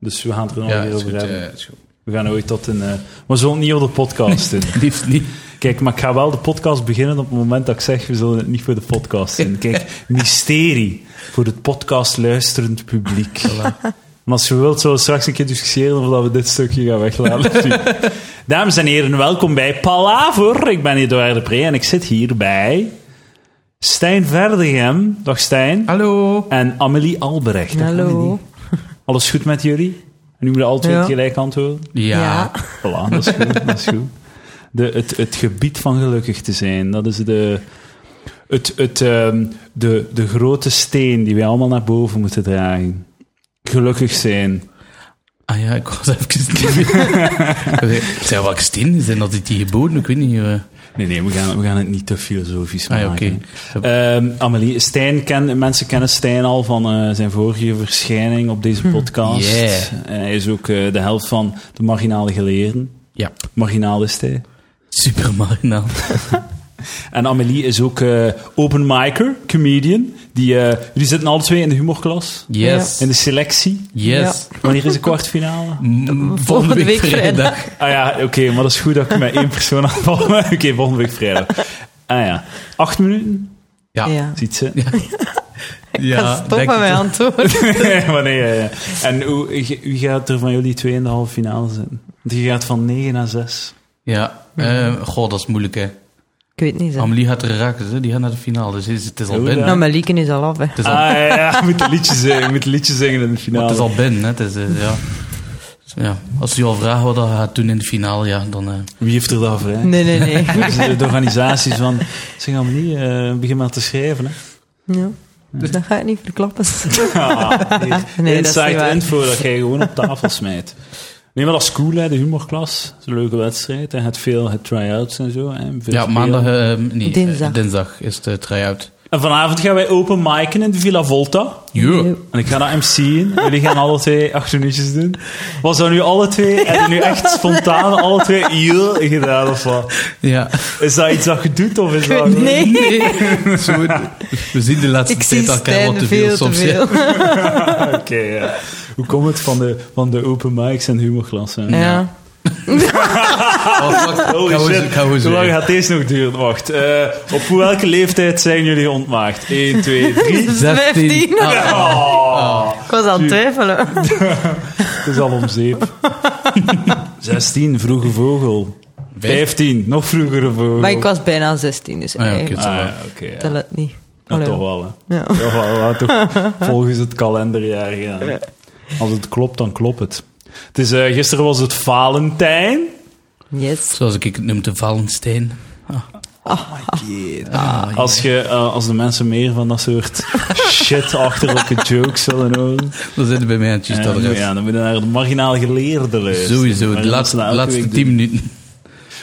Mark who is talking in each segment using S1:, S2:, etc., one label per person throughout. S1: Dus we gaan het er nog
S2: Ja,
S1: weer
S2: is
S1: over
S2: goed.
S1: hebben.
S2: eh, is goed.
S1: We gaan ooit tot een... eh, Maar zo niet op de podcast doen.
S2: Liefst niet.
S1: Kijk, maar ik ga wel de podcast beginnen op het moment dat ik zeg, we zullen het niet voor de podcast doen. Kijk, mysterie voor het podcast luisterend publiek. Maar als je wilt, zullen we straks een keer discussiëren of dat we dit stukje gaan weglaten. Dames en heren, welkom bij Palaver. Ik ben Eduard de Pre en ik zit hier bij Stijn Verdegem. Dag Stijn.
S2: Hallo.
S1: En Amelie Albrecht.
S3: Hallo.
S1: Alles goed met jullie? En nu willen alle twee
S3: Ja.
S1: gelijk antwoorden.
S2: Ja.
S1: Voilà, dat is goed. dat is goed. De, het, het gebied van gelukkig te zijn, dat is de, het, het, ehm, de, de grote steen die wij allemaal naar boven moeten dragen. Gelukkig zijn.
S2: Ah ja, ik was even... Het zijn welke stenen zijn dat die geboden? Ik weet niet. eh.
S1: Nee, nee, we gaan, we gaan het niet te filosofisch
S2: Ah ja,
S1: maken.
S2: oké.
S1: Ehm, Amelie, Stijn ken, mensen kennen Stijn al van eh, zijn vorige verschijning op deze podcast.
S2: Yeah.
S1: En hij is ook eh, de helft van de marginale geleerden.
S2: Ja,
S1: Marginaal is hij.
S2: super marginaal.
S1: En Amelie is ook eh, open micer, comedian. Die, eh, jullie zitten alle twee in de humorklas.
S2: Yes.
S1: In de selectie.
S2: Yes.
S1: Wanneer is de kwartfinale?
S2: M- Volgende week vrijdag.
S1: Ah ja, oké, maar dat is goed dat ik met één persoon aanval. oké, volgende week vrijdag. Ah ja, acht minuten.
S2: Ja. Ja.
S3: Ja.
S1: Ziet ze.
S3: ja stop
S2: denk
S3: met
S2: het
S3: mijn
S2: wel.
S3: antwoord.
S1: maar nee, ja, ja. En hoe, wie gaat er van jullie twee in de halve finale zijn? Want je gaat van 9 naar 6.
S2: Ja. eh, goh, dat is moeilijk, hè.
S3: Ik weet niet. Zeg.
S2: Amelie gaat er raken, hè. die gaat naar de finale. Dus het is- het is al
S1: Hoe
S2: binnen.
S1: dan?
S3: Nou, mijn lieken is al af, hè.
S2: Het is
S1: Ah
S2: al,
S1: ja, ja, je moet een liedje zingen, je moet een liedje zingen in de
S2: maar
S1: finale.
S2: het is al binnen, hè. Het is, eh, ja. Dus, Ja. Als je al vraagt wat dat gaat doen in de finale, ja, dan... eh,
S1: Wie heeft er dan vrij?
S3: Nee, nee, nee.
S1: Dus de organisaties van, zeg Amelie, eh, begin maar te schrijven. Hè.
S3: Ja. Dat ga ik niet verklappen.
S1: Ah,
S3: Nee, dat is niet
S1: Inside
S3: waar.
S1: info dat jij gewoon op tafel smijt. Nee, maar dat is cool, hè, de humorklas. Dat is een leuke wedstrijd. En het veel het try-outs en zo. Hè, VTPL.
S2: Ja, maandag... eh, nee, eh,
S3: Dinsdag.
S2: dinsdag is de try-out.
S1: En vanavond gaan wij open micen in de Villa Volta.
S2: Ja.
S1: En ik ga dat MC'en. Jullie gaan alle twee acht minuutjes doen. Was dat nu alle twee? Heb je nu echt spontaan alle twee hier gedaan of wat?
S2: Ja.
S1: Is dat iets dat je doet of is
S3: Ik
S1: dat...
S3: weet- Nee,
S2: Nee. Zo, we zien de laatste
S3: ik
S2: tijd
S3: zie
S2: elkaar wat
S3: Stijn
S2: te veel
S3: veel te
S2: soms. ja.
S3: veel.
S1: Ah, Oké, ja. Hoe komt het van de, van de open mics en humorklassen?
S3: Ja.
S2: Oh, fuck.
S1: Holy
S2: Gaan we
S1: shit.
S2: zo- gaan we zo
S1: Hoe lang
S2: weer.
S1: gaat deze nog duren? Wacht. eh, op hoe- welke leeftijd zijn jullie ontmaagd? 1, 2, 3.
S2: 16.
S3: 15.
S2: Ah,
S3: Ik was aan het twijfelen.
S1: Het is al om zeep. 16, vroege vogel. 15, nog vroegere vogel.
S3: Maar ik was bijna 16, dus
S2: Ah, ja,
S3: eigenlijk
S2: oké.
S1: Ah, ja, oké. ja.
S3: tel het niet.
S1: Nou,
S3: Allee.
S1: toch wel, hè.
S3: Ja.
S1: Toch wel, we gaan toch volgens het kalenderjaar gaan. Als het klopt, dan klopt het. het is, eh, gisteren was het Valentijn.
S3: Yes.
S2: Zoals ik het noem, de Valentijn. Ah, ja.
S1: Als, je, eh, als de mensen meer van dat soort shit-achterlijke jokes zullen horen...
S2: Dan zitten we bij mij aan het juiste
S1: Ja, dan moet-
S2: adres.
S1: ja, dan moeten we naar de marginaal geleerden luisteren.
S2: Sowieso,
S1: Maar
S2: de
S1: dat
S2: laatste,
S1: moeten we elke
S2: laatste
S1: week
S2: 10
S1: doen.
S2: minuten.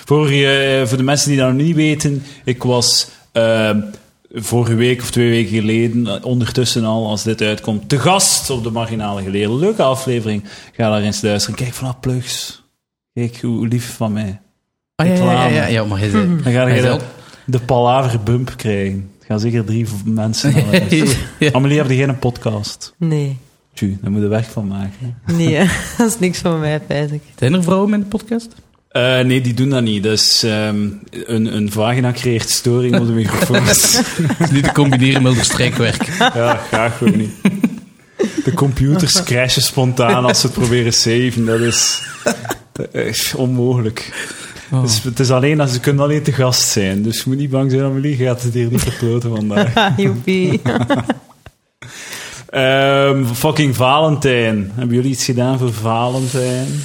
S1: Vorige, eh, voor de mensen die dat nog niet weten, ik was eh, vorige week of twee weken geleden, eh, ondertussen al, als dit uitkomt, te gast op de marginale geleerden. Leuke aflevering. Ga daar eens luisteren. Kijk vanaf plugs. Kijk, hoe lief van mij.
S2: Ah, ja, ja, ja, ja,
S1: Reclame.
S2: ja, maar hij zei...
S1: Dan ga
S2: Hij
S1: je
S2: zei
S1: de, de palaver bump krijgen. Het gaan zeker drie v- mensen. naar luisteren.
S2: ook- Ja.
S1: Amelie, heb je geen podcast?
S3: Nee.
S1: Tju, daar moet je werk van maken. hè.
S3: Nee, hè. dat is niks van mij, feitelijk.
S2: Zijn er vrouwen in de podcast?
S1: Eh, nee, die doen dat niet. Dat is ehm, een, een vagina creëert storing op de microfoons.
S2: Dat is niet te combineren met de strijkwerk.
S1: ja, graag gewoon niet. De computers crashen spontaan als ze het proberen saven. Dat is echt onmogelijk.
S2: Oh.
S1: Dus het is alleen, als- ze kunnen alleen te gast zijn. Dus je moet niet bang zijn, Amelie. Je gaat het hier niet verkloten vandaag.
S3: Ha, joepie.
S1: Ehm, fucking Valentijn. Hebben jullie iets gedaan voor Valentijn?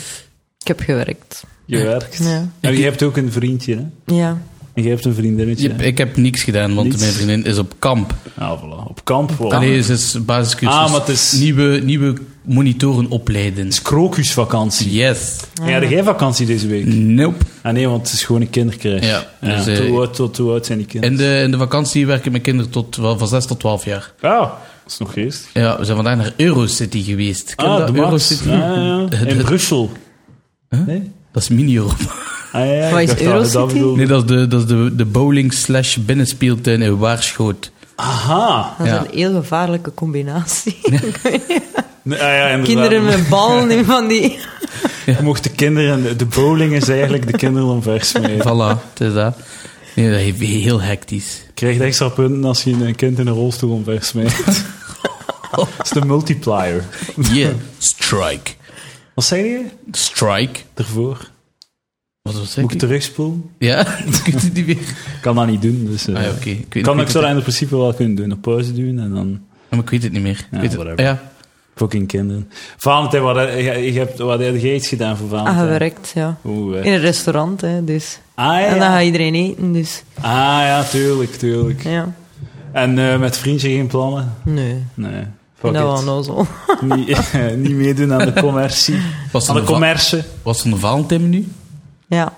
S3: Ik heb gewerkt.
S1: Je werkt.
S3: Ja.
S1: En je hebt ook een vriendje, hè?
S3: Ja.
S1: En je hebt een vriendinnetje.
S2: Ik-
S1: hè?
S2: Ik heb niks gedaan, want
S1: Niets.
S2: mijn vriendin is op kamp.
S1: Ah, voilà. Op kamp. Wow.
S2: Allee, ze is basiscursus.
S1: Ah, maar het is-
S2: Nieuwe, nieuwe monitoren opleiden.
S1: Het is krokusvakantie.
S2: Yes.
S3: Ah.
S1: Ja, heb jij vakantie deze week?
S2: Nope.
S1: Ah nee, want het is gewoon een kindercrash.
S2: Mm. Ja, dus, eh,
S1: hoe, oud, tot, hoe oud zijn die kinderen?
S2: In de, in de vakantie werken mijn kinderen tot, wel, van 6 tot 12 jaar.
S1: Ah, dat is nog geest.
S2: Ja, we zijn vandaag naar Eurocity geweest. Ken je
S1: Ah,
S2: dat?
S1: de Max.
S2: Eurocity?
S1: Ja, ja, ja. In
S2: Het-
S1: Brussel.
S2: Huh?
S1: Nee?
S2: Dat is mini-Europa.
S1: Ah, ja, ja, ik
S3: Wat is
S1: dacht dat je dat
S3: Eurocity?
S1: bedoelde.
S2: Nee, dat is de, dat is de, de bowling slash binnenspeeltuin in Waarschoot.
S1: Aha.
S3: Dat is
S2: Ja.
S3: een heel gevaarlijke combinatie.
S1: Nee, ah ja, inderdaad.
S3: Kinderen met ballen in van die...
S1: Je mocht de kinderen... De bowling is eigenlijk de kinderen omver smijten.
S2: Voilà, het is dat. Nee, dat is heel hectisch.
S1: Je krijgt extra punten als je een kind in een rolstoel omver smijt. Dat is de multiplier.
S2: Yeah, strike.
S1: Wat zei je
S2: Strike.
S1: ervoor?
S2: Wat was
S1: Moet ik
S2: dat?
S1: terugspoelen?
S2: Ja, dat kunt u niet meer.
S1: Ik kan dat niet doen, dus... eh,
S2: Ah ja, oké. Ik weet-
S1: Kan
S2: ik
S1: ik
S2: weet
S1: zo
S2: het-
S1: in principe wel kunnen doen. Een pauze doen en dan...
S2: Maar ik weet het niet meer. Ik
S1: Ja,
S2: weet het-
S1: whatever.
S2: ja.
S1: Fucking kinderen. Valentijn, wat, heb- je, je hebt, wat heb jij iets gedaan voor
S3: Ah,
S1: Valentijn?
S3: gewerkt, ja.
S1: Oeh, eh.
S3: In een restaurant, hè, dus.
S1: Ah ja.
S3: En dan gaat iedereen eten, dus...
S1: ah ja, tuurlijk, tuurlijk.
S3: Ja.
S1: En eh, met vriendje geen plannen?
S3: Nee,
S1: Nee. Fuck
S3: dat nou was
S1: it.
S3: onnozel.
S1: niet, eh, niet meedoen aan de commercie.
S2: Was
S1: Aan
S2: er
S1: de
S2: een, va-
S1: commercie.
S2: was er een Valentijn-menu?
S3: Ja,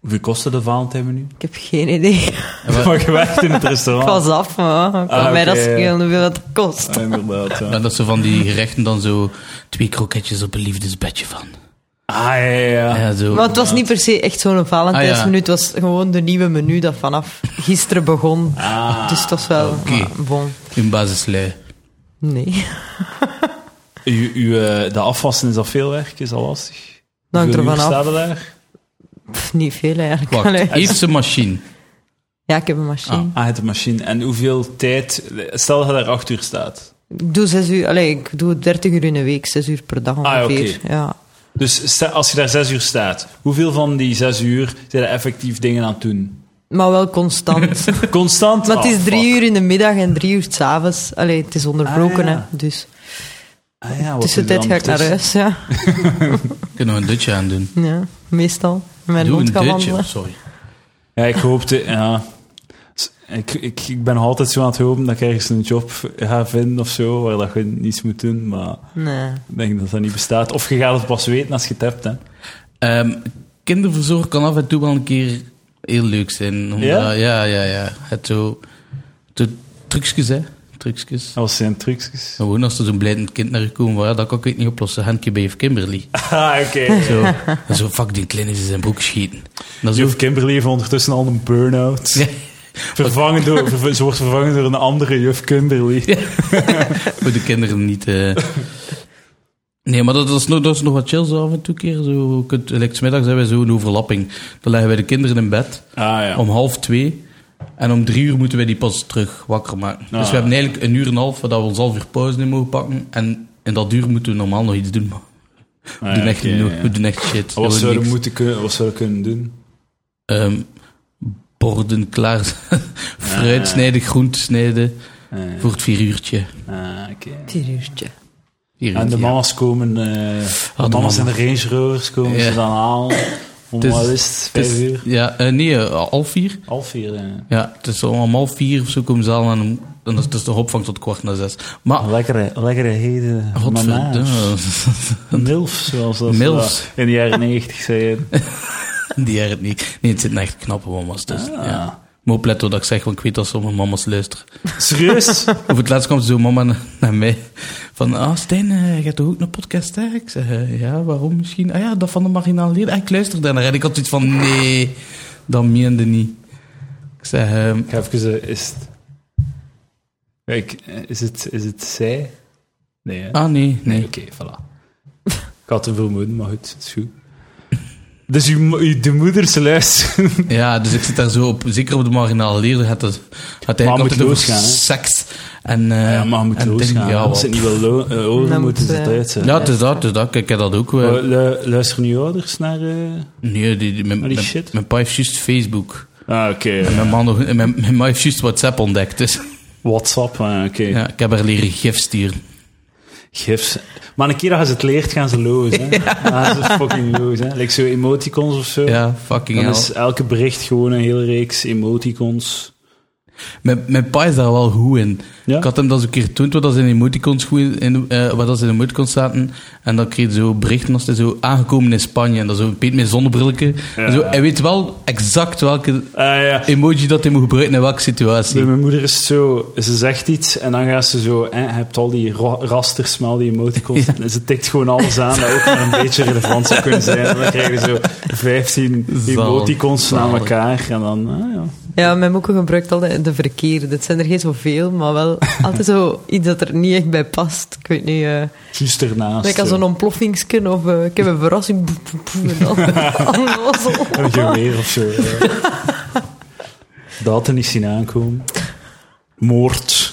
S1: Hoeveel kostte de Valentijn menu?
S3: ik heb geen idee.
S2: wat-
S1: Maar je werkt in het
S3: Ik
S1: restaurant.
S3: was af, maar kan
S1: Ah,
S3: mij dat
S1: oké, ja.
S3: schelen hoeveel dat kost.
S1: Ah, inderdaad, ja.
S2: Ja, dat ze van die gerechten dan zo twee kroketjes op een liefdesbedje van.
S1: Ah, ja, ja, ja.
S2: Ja, zo.
S3: Maar het was niet per se echt zo'n Valentijnsmenu.
S1: Ah,
S3: Het was gewoon de nieuwe menu dat vanaf gisteren begon.
S1: Ah,
S3: dus het was wel...
S2: oké.
S3: maar bon,
S2: In basislui.
S3: nee.
S1: u, u, eh, de afwassen is al veel werk, is al lastig.
S3: Dat hangt
S1: Hoeveel
S3: ervan
S1: uur
S3: af.
S1: staat er daar?
S3: Pff, niet veel eigenlijk. Allee.
S2: Wacht, heeft ze machine?
S3: Ja, ik heb een machine.
S1: Ah, het machine. En hoeveel tijd... Stel dat je daar acht uur staat.
S3: Ik doe zes uur, allee, ik doe 30 uur in een week, zes uur per dag
S1: Ah,
S3: ongeveer. ja.
S1: Dus stel- als je daar zes uur staat, hoeveel van die zes uur zijn er effectief dingen aan het doen?
S3: Maar wel constant.
S1: Constant?
S3: maar het
S1: Ah,
S3: is drie
S1: fuck.
S3: uur in de middag en drie uur s'avonds. Allee, het is onderbroken,
S1: Ah, ja.
S3: hè. Dus
S1: Ah, ja, wat Dus-
S3: tussentijd
S1: doe je
S3: ga ik
S1: dan
S3: naar huis, ja.
S2: Kunnen we een dutje aan doen?
S3: ja. Meestal. Met Mijn
S2: Doe
S3: hond
S2: een
S3: gaan
S2: dutje,
S3: wandelen.
S2: sorry.
S1: Ja, ik hoopte, ja. S- Ik, ik, ik ben nog altijd zo aan het hopen dat ik ergens een job ga vinden of zo, waar dat je niets moet doen, maar
S3: Nee.
S1: ik denk dat dat niet bestaat. Of je gaat het pas weten als je het hebt, hè.
S2: Ehm, kinderverzorg kan af en toe wel een keer heel leuk zijn. Omdat,
S1: Ja?
S2: ja? Ja, ja, Het zo... zo Trucjes, hè. Trucjes.
S1: Dat zijn trucjes.
S2: Gewoon als er zo'n blijdend kind naar je komt, waar, dat kan ik het niet oplossen. Handje bij juf Kimberly.
S1: Ah, oké.
S2: Zo, en zo fuck, die kleine is in zijn broek schieten. Dat is
S1: Juf
S2: ook...
S1: Kimberly heeft ondertussen al een burn-out.
S2: Ja,
S1: Vervangen door, ver- ze wordt vervangen door een andere Juf Kimberly.
S2: voor de kinderen niet... eh. Nee, maar dat is, nog, dat is nog wat chill zo af en toe keer. Zo, je kunt, like, 's middags hebben wij zo'n overlapping. Dan leggen wij de kinderen in bed.
S1: Ah, ja.
S2: om half twee. En om drie uur moeten wij die pas terug wakker maken.
S1: Ah.
S2: Dus we hebben eigenlijk een uur en een half, waar we ons half uur pauze in mogen pakken. En in dat uur moeten we normaal nog iets doen. Maar we,
S1: Ah,
S2: doen
S1: ja,
S2: echt,
S1: oké,
S2: no-
S1: ja.
S2: we doen echt shit.
S1: Wat
S2: We doen
S1: zouden we
S2: niks.
S1: moeten kunnen, wat zouden we kunnen doen?
S2: Ehm, borden klaar. Fruit
S1: Ah.
S2: snijden, groente snijden.
S1: Eh,
S2: Voor het vier uurtje.
S1: ah, oké.
S3: Vier uurtje.
S1: En
S2: Vier
S1: de
S2: uurtje, ja. Oh,
S1: mama's komen, eh, de
S2: de
S1: mama's en
S2: mama.
S1: de Range Rovers komen
S2: Ja.
S1: ze dan halen. Om
S2: Het is-
S1: wat is het?
S2: Het
S1: Vijf
S2: is-
S1: uur?
S2: Ja, eh, nee, eh, half vier.
S1: Half vier, eh.
S2: Ja, het is om half vier of zo komen ze al aan. En dan is het dus de opvang tot kwart na zes. Maar,
S1: Ah. Lekkere, lekkere hede
S2: godverdomme.
S1: Milf, zoals dat
S2: Milfs.
S1: ze dat in de jaren negentig zeiden.
S2: Die herinnert niet. Nee, het zitten echt knappe mama's dus.
S1: Ah.
S2: Ja. Moet opletten wat ik zeg, want ik weet dat sommige mama's luisteren.
S1: Serieus?
S2: Over het laatst kwam zo'n mama na- naar mij. Van, ah Stijn, eh, je hebt toch ook een podcast, hè? Ik zeg, eh, ja, waarom misschien? Ah ja, dat van de marginaal leer. Ah, ik luister daarnaar. En ik had zoiets van, nee, dat meende niet. Ik zeg, ehm,
S1: Ik ga even... eh, is het... Kijk, eh, is het, is het zij? Nee, hè?
S2: ah nee, nee.
S1: Oké, voilà. Ik had een vermoeden, maar goed, het is goed. Dus uw, mo- uw- de moeders luisteren.
S2: Ja, dus ik zit daar zo op. Zeker op de marginaal leer. Dan gaat het gaat
S1: Maar
S2: eigenlijk
S1: moet
S2: altijd over
S1: losgaan, hè?
S2: seks. En, eh,
S1: Ja, maar je moet
S2: en
S1: losgaan.
S2: dingen. Ja,
S1: Als ze
S2: wat-
S1: het niet wil lo- eh, horen,
S3: Dan
S1: moeten
S3: moet,
S1: ze het
S3: eh,
S1: uitzetten.
S2: ja, het is dat, het is dat. Ik heb dat ook. eh,
S1: Eh, lu- luisteren uw ouders naar... eh?
S2: Nee, die, die, mijn,
S1: Maar die
S2: mijn-
S1: shit.
S2: mijn pa heeft juist Facebook.
S1: Ah, oké.
S2: En mijn, man nog, en mijn, mijn ma heeft juist WhatsApp ontdekt. Dus
S1: WhatsApp, ah, oké.
S2: ja, ik heb haar leren gif sturen.
S1: Gifs. Maar een keer als ze het leert, gaan ze loos. Hè? gaan ze fucking loos. Hè? Like zo emoticons of zo.
S2: Ja, fucking
S1: Dan
S2: hell.
S1: is elke bericht gewoon een hele reeks emoticons.
S2: Mijn, mijn pa is daar wel goed in.
S1: Ja?
S2: Ik had hem dat eens een keer toen, dat ze in emoticons, goed in- in, eh, waar dat ze in emoticons zaten. En dan kreeg hij zo berichten als hij zo aangekomen in Spanje. En dan zo een beetje met zonnebrilken.
S1: Ja.
S2: En zo, hij weet wel exact welke
S1: Ah, ja.
S2: emoji dat hij moet gebruiken in welke situatie.
S1: Bij mijn moeder is het zo, ze zegt iets en dan gaat ze zo, hè, je hebt al die ra- rasters, maar al die emoticons. En ze tikt gewoon alles aan dat ook maar een beetje relevant zou kunnen zijn. En dan krijg je zo 15
S2: Zalig.
S1: emoticons na
S2: Zalig.
S1: elkaar. En dan, ah, ja.
S3: Ja, mijn moeke gebruikt altijd de verkeerde. Het zijn er geen zoveel, maar wel altijd zo iets dat er niet echt bij past. Ik weet niet... eh,
S1: Juist ernaast.
S3: Lekker zo'n ontploffingsken of eh, ik heb een verrassing. Boep, boep, boep, en dan onnozel.
S1: Een geweer of zo. ja. Dat had er niet zien aankomen. Moord.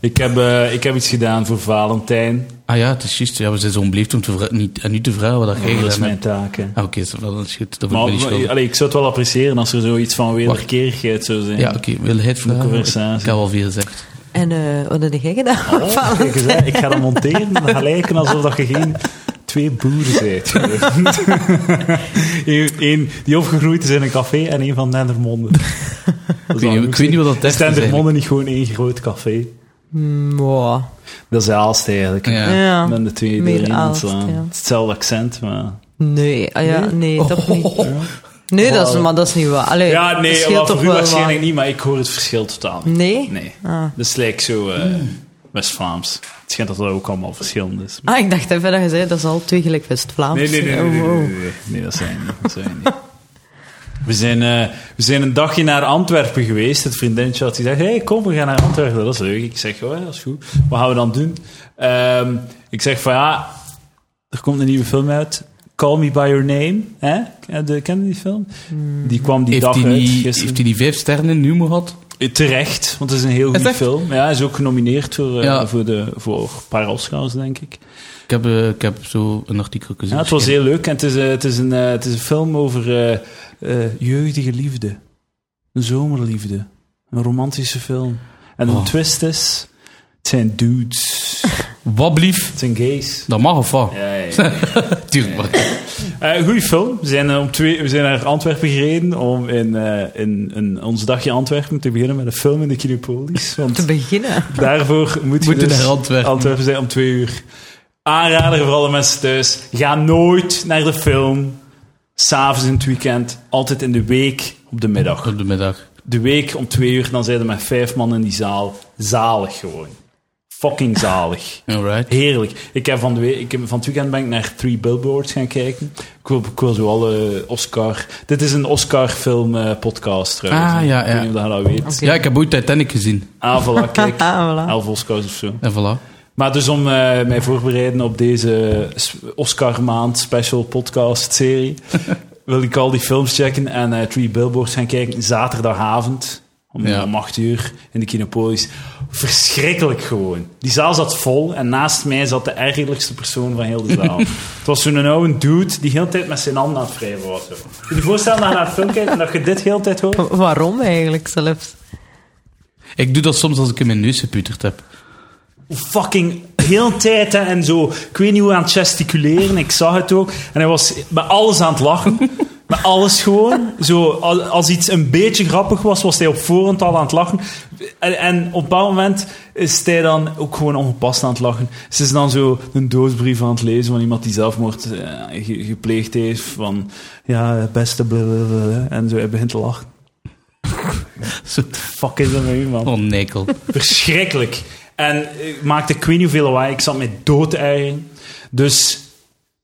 S1: Ik heb, eh, ik heb iets gedaan voor Valentijn.
S2: Ah ja, het is juist. Ja, we zijn zo onbeleefd om te vra- niet, aan u te vragen wat dat
S1: Dat
S2: regelen
S1: is
S2: is.
S1: mijn taak. hè.
S2: Ah, oké, dat is goed. Dat
S1: Maar,
S2: wordt me niet
S1: maar,
S2: schuldig.
S1: allee, ik zou het wel appreciëren als er zoiets van wederkerigheid zou zijn.
S2: Ja, oké, wil hij het vragen?
S1: conversatie.
S2: Ik heb al veel gezegd.
S3: En eh, wat heb jij gedaan?
S1: Oh, kijk eens, hè. ik ga dat monteren en dat gaat lijken alsof dat je geen twee boeren bent. Eén één die opgegroeid is in een café en één van Dendermonde. Dat is wel
S2: Ik weet, niet- ik
S1: moeilijk.
S2: weet niet wat dat echt
S1: Is
S2: is. eigenlijk.
S1: Dendermonde niet gewoon één groot café?
S3: Mm, wow.
S1: Dat is Aalst eigenlijk.
S2: Ja.
S3: Ja.
S1: Met de twee
S3: Meer
S1: erin
S3: Aalst,
S1: slaan.
S3: ja.
S1: Het is hetzelfde accent, maar...
S3: Nee, ah, ja, nee, toch niet.
S2: Oh, oh,
S3: Nee, dat is, maar dat is niet waar. Allee,
S1: Ja,
S3: dat
S1: nee,
S3: scheelt
S1: maar
S3: toch
S1: voor u
S3: wel
S1: waarschijnlijk niet, maar ik hoor het verschil totaal
S3: wat.
S1: niet.
S3: Nee?
S1: Nee.
S3: Ah.
S1: Dat is lijkt zo eh, West-Vlaams. Het schijnt dat dat ook allemaal verschillend is.
S3: Ah, ik dacht even dat je zei, dat is al twee gelijk West-Vlaams.
S1: Nee, nee, nee, nee,
S3: Oh,
S1: nee,
S3: wow.
S1: nee, nee, nee. Nee, dat zijn we niet. Dat zijn we niet. We zijn, eh, we zijn een dagje naar Antwerpen geweest. Het vriendinnetje had gezegd, hey, kom, we gaan naar Antwerpen. Dat is leuk. Ik zeg, oh, ja, dat is goed. Wat gaan we dan doen? Ehm, ik zeg van, ja, er komt een nieuwe film uit. Call Me By Your Name. Hè? Ken je- Ken je die film? Die kwam die
S2: Heeft
S1: dag
S2: hij
S1: uit,
S2: niet-
S1: gisteren. Eh,
S2: heeft hij die vijf sterren in humor gehad?
S1: Terecht, want het is een heel
S2: Is
S1: goede
S2: echt?
S1: film. Ja, hij is ook genomineerd voor, eh,
S2: Ja.
S1: voor, de, voor een paar Oscars, denk ik.
S2: Ik heb, eh, ik heb zo een artikel gezien.
S1: Ja, het was heel leuk. En het, is, eh, het, is een, eh, het is een film over eh, eh, jeugdige liefde. Een zomerliefde. Een romantische film. En een
S2: Oh.
S1: twist is... Het zijn dudes.
S2: Wat blief?
S1: het zijn gays.
S2: Dat mag of wat?
S1: Ja, ja, ja.
S2: Tuurlijk. maar-
S1: Eh, goeie film. We zijn, eh, om twee, we zijn naar Antwerpen gereden om in, eh, in, in ons dagje Antwerpen te beginnen met een film in de Kinopolis. Want
S3: Te beginnen.
S1: Daarvoor moet je
S2: Moeten
S1: dus
S2: naar Antwerpen.
S1: zijn om twee uur. Aanrader voor alle mensen thuis. Ga nooit naar de film. S'avonds in het weekend. Altijd in de week op de middag.
S2: Op de middag.
S1: De week om twee uur. Dan zijn er met vijf man in die zaal. Zalig gewoon. Fucking zalig.
S2: Alright.
S1: Heerlijk. Ik heb van, de we- ik heb, van het weekend ben ik naar Three Billboards gaan kijken. Ik wil, ik wil zo alle Oscar... Dit is een Oscar-film eh, podcast trouwens.
S2: Ah,
S1: hè.
S2: ja,
S1: Ik weet
S2: ja.
S1: niet of je dat weet.
S2: Ja, ik heb ooit Titanic gezien.
S1: Ah, voilà, kijk.
S3: Ah, voilà.
S1: Elf Oscars of zo.
S2: En voilà.
S1: Maar dus om eh, mij voor te bereiden op deze s- Oscar Maand Special Podcast serie, wil ik al die films checken en eh Three Billboards gaan kijken zaterdagavond om,
S2: Ja.
S1: om 8 uur in de Kinopolis. Verschrikkelijk gewoon. Die zaal zat vol en naast mij zat de ergerlijkste persoon van heel de zaal. het was zo'n oude dude die heel de tijd met zijn handen aan het wrijven was. zo. Kun je je voorstellen dat je naar een film kijkt en dat je dit heel de tijd hoort?
S3: Wa- Waarom eigenlijk zelfs?
S2: Ik doe dat soms als ik in mijn neus geputerd heb.
S1: fucking heel de tijd hè, en zo, ik weet niet hoe aan het gesticuleren, ik zag het ook. En hij was met alles aan het lachen. Met alles gewoon. Zo, al- als iets een beetje grappig was, was hij op voorhand al aan het lachen. En, en op een bepaald moment is hij dan ook gewoon ongepast aan het lachen. Ze is dan zo een doosbrief aan het lezen van iemand die zelfmoord eh, ge- gepleegd heeft. Van, ja, beste blablabla. En zo, hij begint te lachen.
S2: Zo.
S1: Fuck is dat met u, man?
S2: Oh, nekel.
S1: Verschrikkelijk. En ik maakte ik weet niet hoeveel lawaai. Ik zat met dood te ergeren. Dus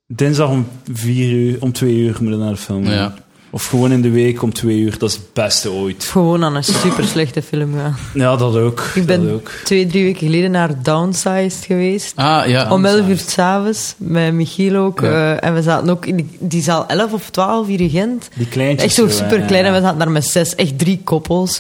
S1: dinsdag om vier uur, om twee uur moeten we naar de film. gaan.
S2: Ja.
S1: Of gewoon in de week om twee uur. Dat is het beste ooit.
S3: Gewoon aan een super slechte film gaan.
S1: Ja, dat ook.
S3: Ik
S1: Dat
S3: ben
S1: ook.
S3: twee, drie weken geleden naar Downsized geweest.
S2: Ah, ja.
S3: Om 11 uur s'avonds, met Michiel ook.
S2: Ja.
S3: eh, en we zaten ook in die, die zaal 11 of 12 hier in Gent.
S1: Die kleintjes.
S3: Echt zo
S1: hè.
S3: super klein. En we zaten daar met zes, echt drie koppels.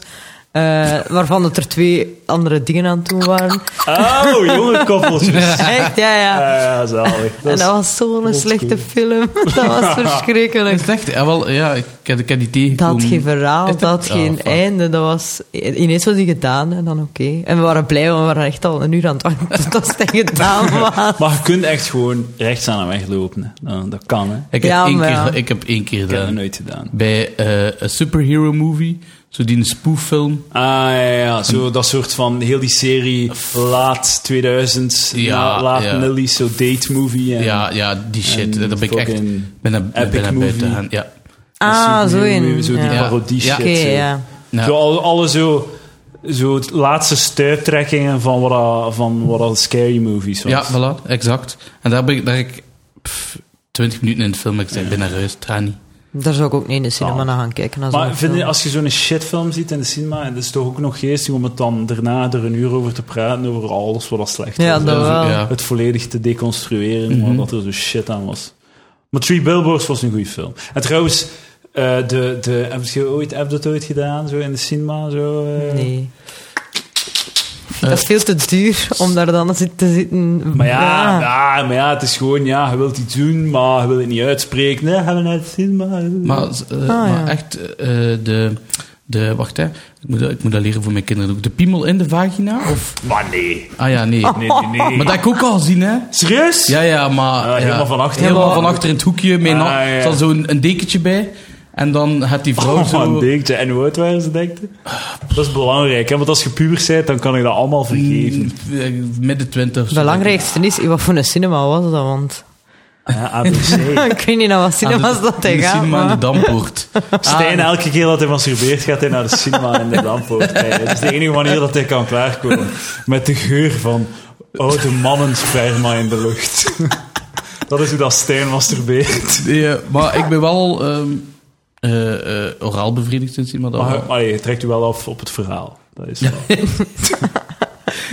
S3: eh, waarvan dat er twee andere dingen aan toe waren.
S1: Oh, jonge koppeltjes. Ja,
S3: Echt, ja, ja.
S1: ja, zalig.
S3: En
S1: Dat is-
S3: dat was zo'n
S1: is
S3: slechte
S1: cool.
S3: film. Dat was verschrikkelijk.
S2: Dat is echt, ja, wel, ja, ik heb, ik heb die tegengekomen.
S3: Dat geen verhaal,
S2: Is
S3: dat,
S2: dat- Oh,
S3: geen
S2: fuck.
S3: einde. Dat was, ineens was die gedaan en dan oké. En we waren blij, want we waren echt al een uur aan het wachten tot dat die gedaan was.
S1: Maar je kunt echt gewoon rechts aan hem weglopen. hè. Nou, dat kan, hè.
S2: Ik heb,
S3: Ja,
S2: één
S3: maar ja.
S2: keer, ik heb één keer
S1: Ik heb dat
S2: gedaan.
S1: nooit gedaan.
S2: Bij eh, een superhero movie, zo die een spooffilm.
S1: Ah ja, ja, ja. Zo, dat soort van heel die serie laat 2000,
S2: Ja,
S1: laat
S2: ja.
S1: Nilly's, zo date movie. En,
S2: Ja, ja, die shit.
S1: en
S2: Daar ben ik echt
S1: fucking
S2: ben er- ben
S1: epic
S2: er
S1: movie.
S2: buiten gaan. Ja.
S3: Ah, zo in.
S1: Zo die
S3: Ja.
S2: Ja.
S1: parodie
S2: Ja.
S1: shit.
S3: Oké,
S1: zo.
S3: ja.
S2: Nou,
S1: Zo, al- alle zo, zo het laatste stuiptrekkingen van wat, dat- van wat dat scary movies was.
S2: ja, voilà, exact. En daar ben ik, daar heb ik pff, 20 minuten in de film, ik zei, ben naar huis, het gaat niet.
S3: Daar zou ik ook niet in de cinema naar gaan kijken. naar
S1: Maar
S3: zo'n
S1: vind je,
S3: film.
S1: als je zo'n shitfilm ziet in de cinema, en het is toch ook nog geestig om het dan daarna er een uur over te praten, over alles wat er slecht
S3: Ja,
S1: was.
S3: dat
S1: en zo
S3: wel.
S2: Ja. Mhm.
S1: Het volledig te deconstrueren, omdat er zo shit aan was. Maar Three Billboards was een goede film. En trouwens, eh, de, de, heb je ooit, heb je dat ooit gedaan, zo in de cinema? Zo, eh?
S3: Nee. dat is veel te duur om daar dan te zitten.
S1: Maar ja, ja. maar ja, het is gewoon, ja, je wilt iets doen, maar je wil het niet uitspreken. Nee, hebben we naar de cinema.
S2: Maar, eh,
S1: Ah,
S3: ja.
S2: maar echt, eh, de, de... Wacht, hè. Ik moet, dat- ik moet dat leren voor mijn kinderen ook. De piemel in de vagina? Of...
S1: Maar nee.
S2: Ah ja, nee.
S1: Nee, nee, nee.
S2: Maar dat heb ik ook al gezien, hè.
S1: Serieus?
S2: Ja, ja, maar...
S1: Ah, helemaal van achter.
S2: Helemaal
S1: Ja.
S2: van achter in het hoekje. Met een-
S1: Ah, ja.
S2: Er zat zo'n een dekentje bij. En dan had die vrouw
S1: Oh,
S2: zo...
S1: man, denkte. En hoe oud waren ze, denkte? Dat is belangrijk, hè? want als je puber bent, dan kan ik dat allemaal vergeven.
S2: Eh, Midden twintig.
S3: Het belangrijkste is, wat voor een cinema was dat? Want
S1: Ja, ABC.
S3: ik weet niet naar wat cinema's dat hij
S2: In Ah, de
S3: gaat.
S2: cinema aan
S3: maar-
S2: de Dampoort. Ah.
S1: Stijn, elke keer dat hij masturbeert, gaat hij naar de cinema in de Dampoort. kijken. Dat is de enige manier dat hij kan klaarkomen. Met de geur van oude mannensperma in de lucht. Dat is hoe dat Stijn masturbeert.
S2: Ja, maar ik ben wel ehm, eh, eh, oraal bevredigd sinds iemand
S1: Maar,
S2: al-
S1: maar je trekt u wel af op het verhaal. Dat is wel.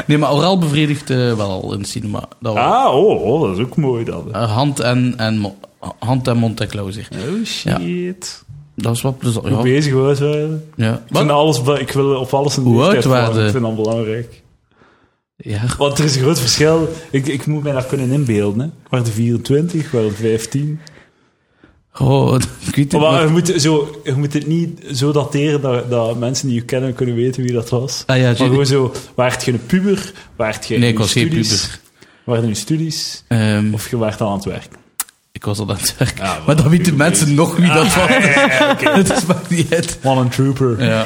S2: Nee, maar oraal bevredigd eh, wel al in het cinema. Dat wel.
S1: Ah, oh, oh, dat is ook mooi dan.
S2: Eh, hand en, en, mo- hand en mond en klauwzeer.
S1: Oh shit.
S2: Dat is wel plezant.
S1: Hoe
S2: Ja.
S1: bezig was wij?
S2: ja.
S1: Ik, vind
S2: Wat?
S1: alles, be- ik wil op alles een
S2: Hoe oud
S1: leeftijd
S2: waren
S1: vormen. Ik
S2: ze?
S1: vind dat belangrijk.
S2: Ja.
S1: Want er is een groot verschil. Ik, ik moet mij dat kunnen inbeelden. Hè. Ik was de 24, ik was de 15.
S2: Oh, ik weet het
S1: Maar
S2: nog.
S1: je moet, zo, je moet het niet zo dateren dat, dat mensen die je kennen kunnen weten wie dat was.
S2: Ah ja,
S1: maar gewoon
S2: tuurlijk.
S1: zo, waart je een puber? Waart je
S2: Nee,
S1: in
S2: ik
S1: je
S2: was geen
S1: eh, studies?
S2: puber.
S1: Waren je studies?
S2: Ehm,
S1: Of je waart al aan het werk?
S2: ik was al aan het werk.
S1: Ja,
S2: maar dan weten
S1: tuurlijk.
S2: mensen nog wie
S1: Ah.
S2: dat was. Dat maakt niet uit.
S1: One and trooper.
S2: Ja.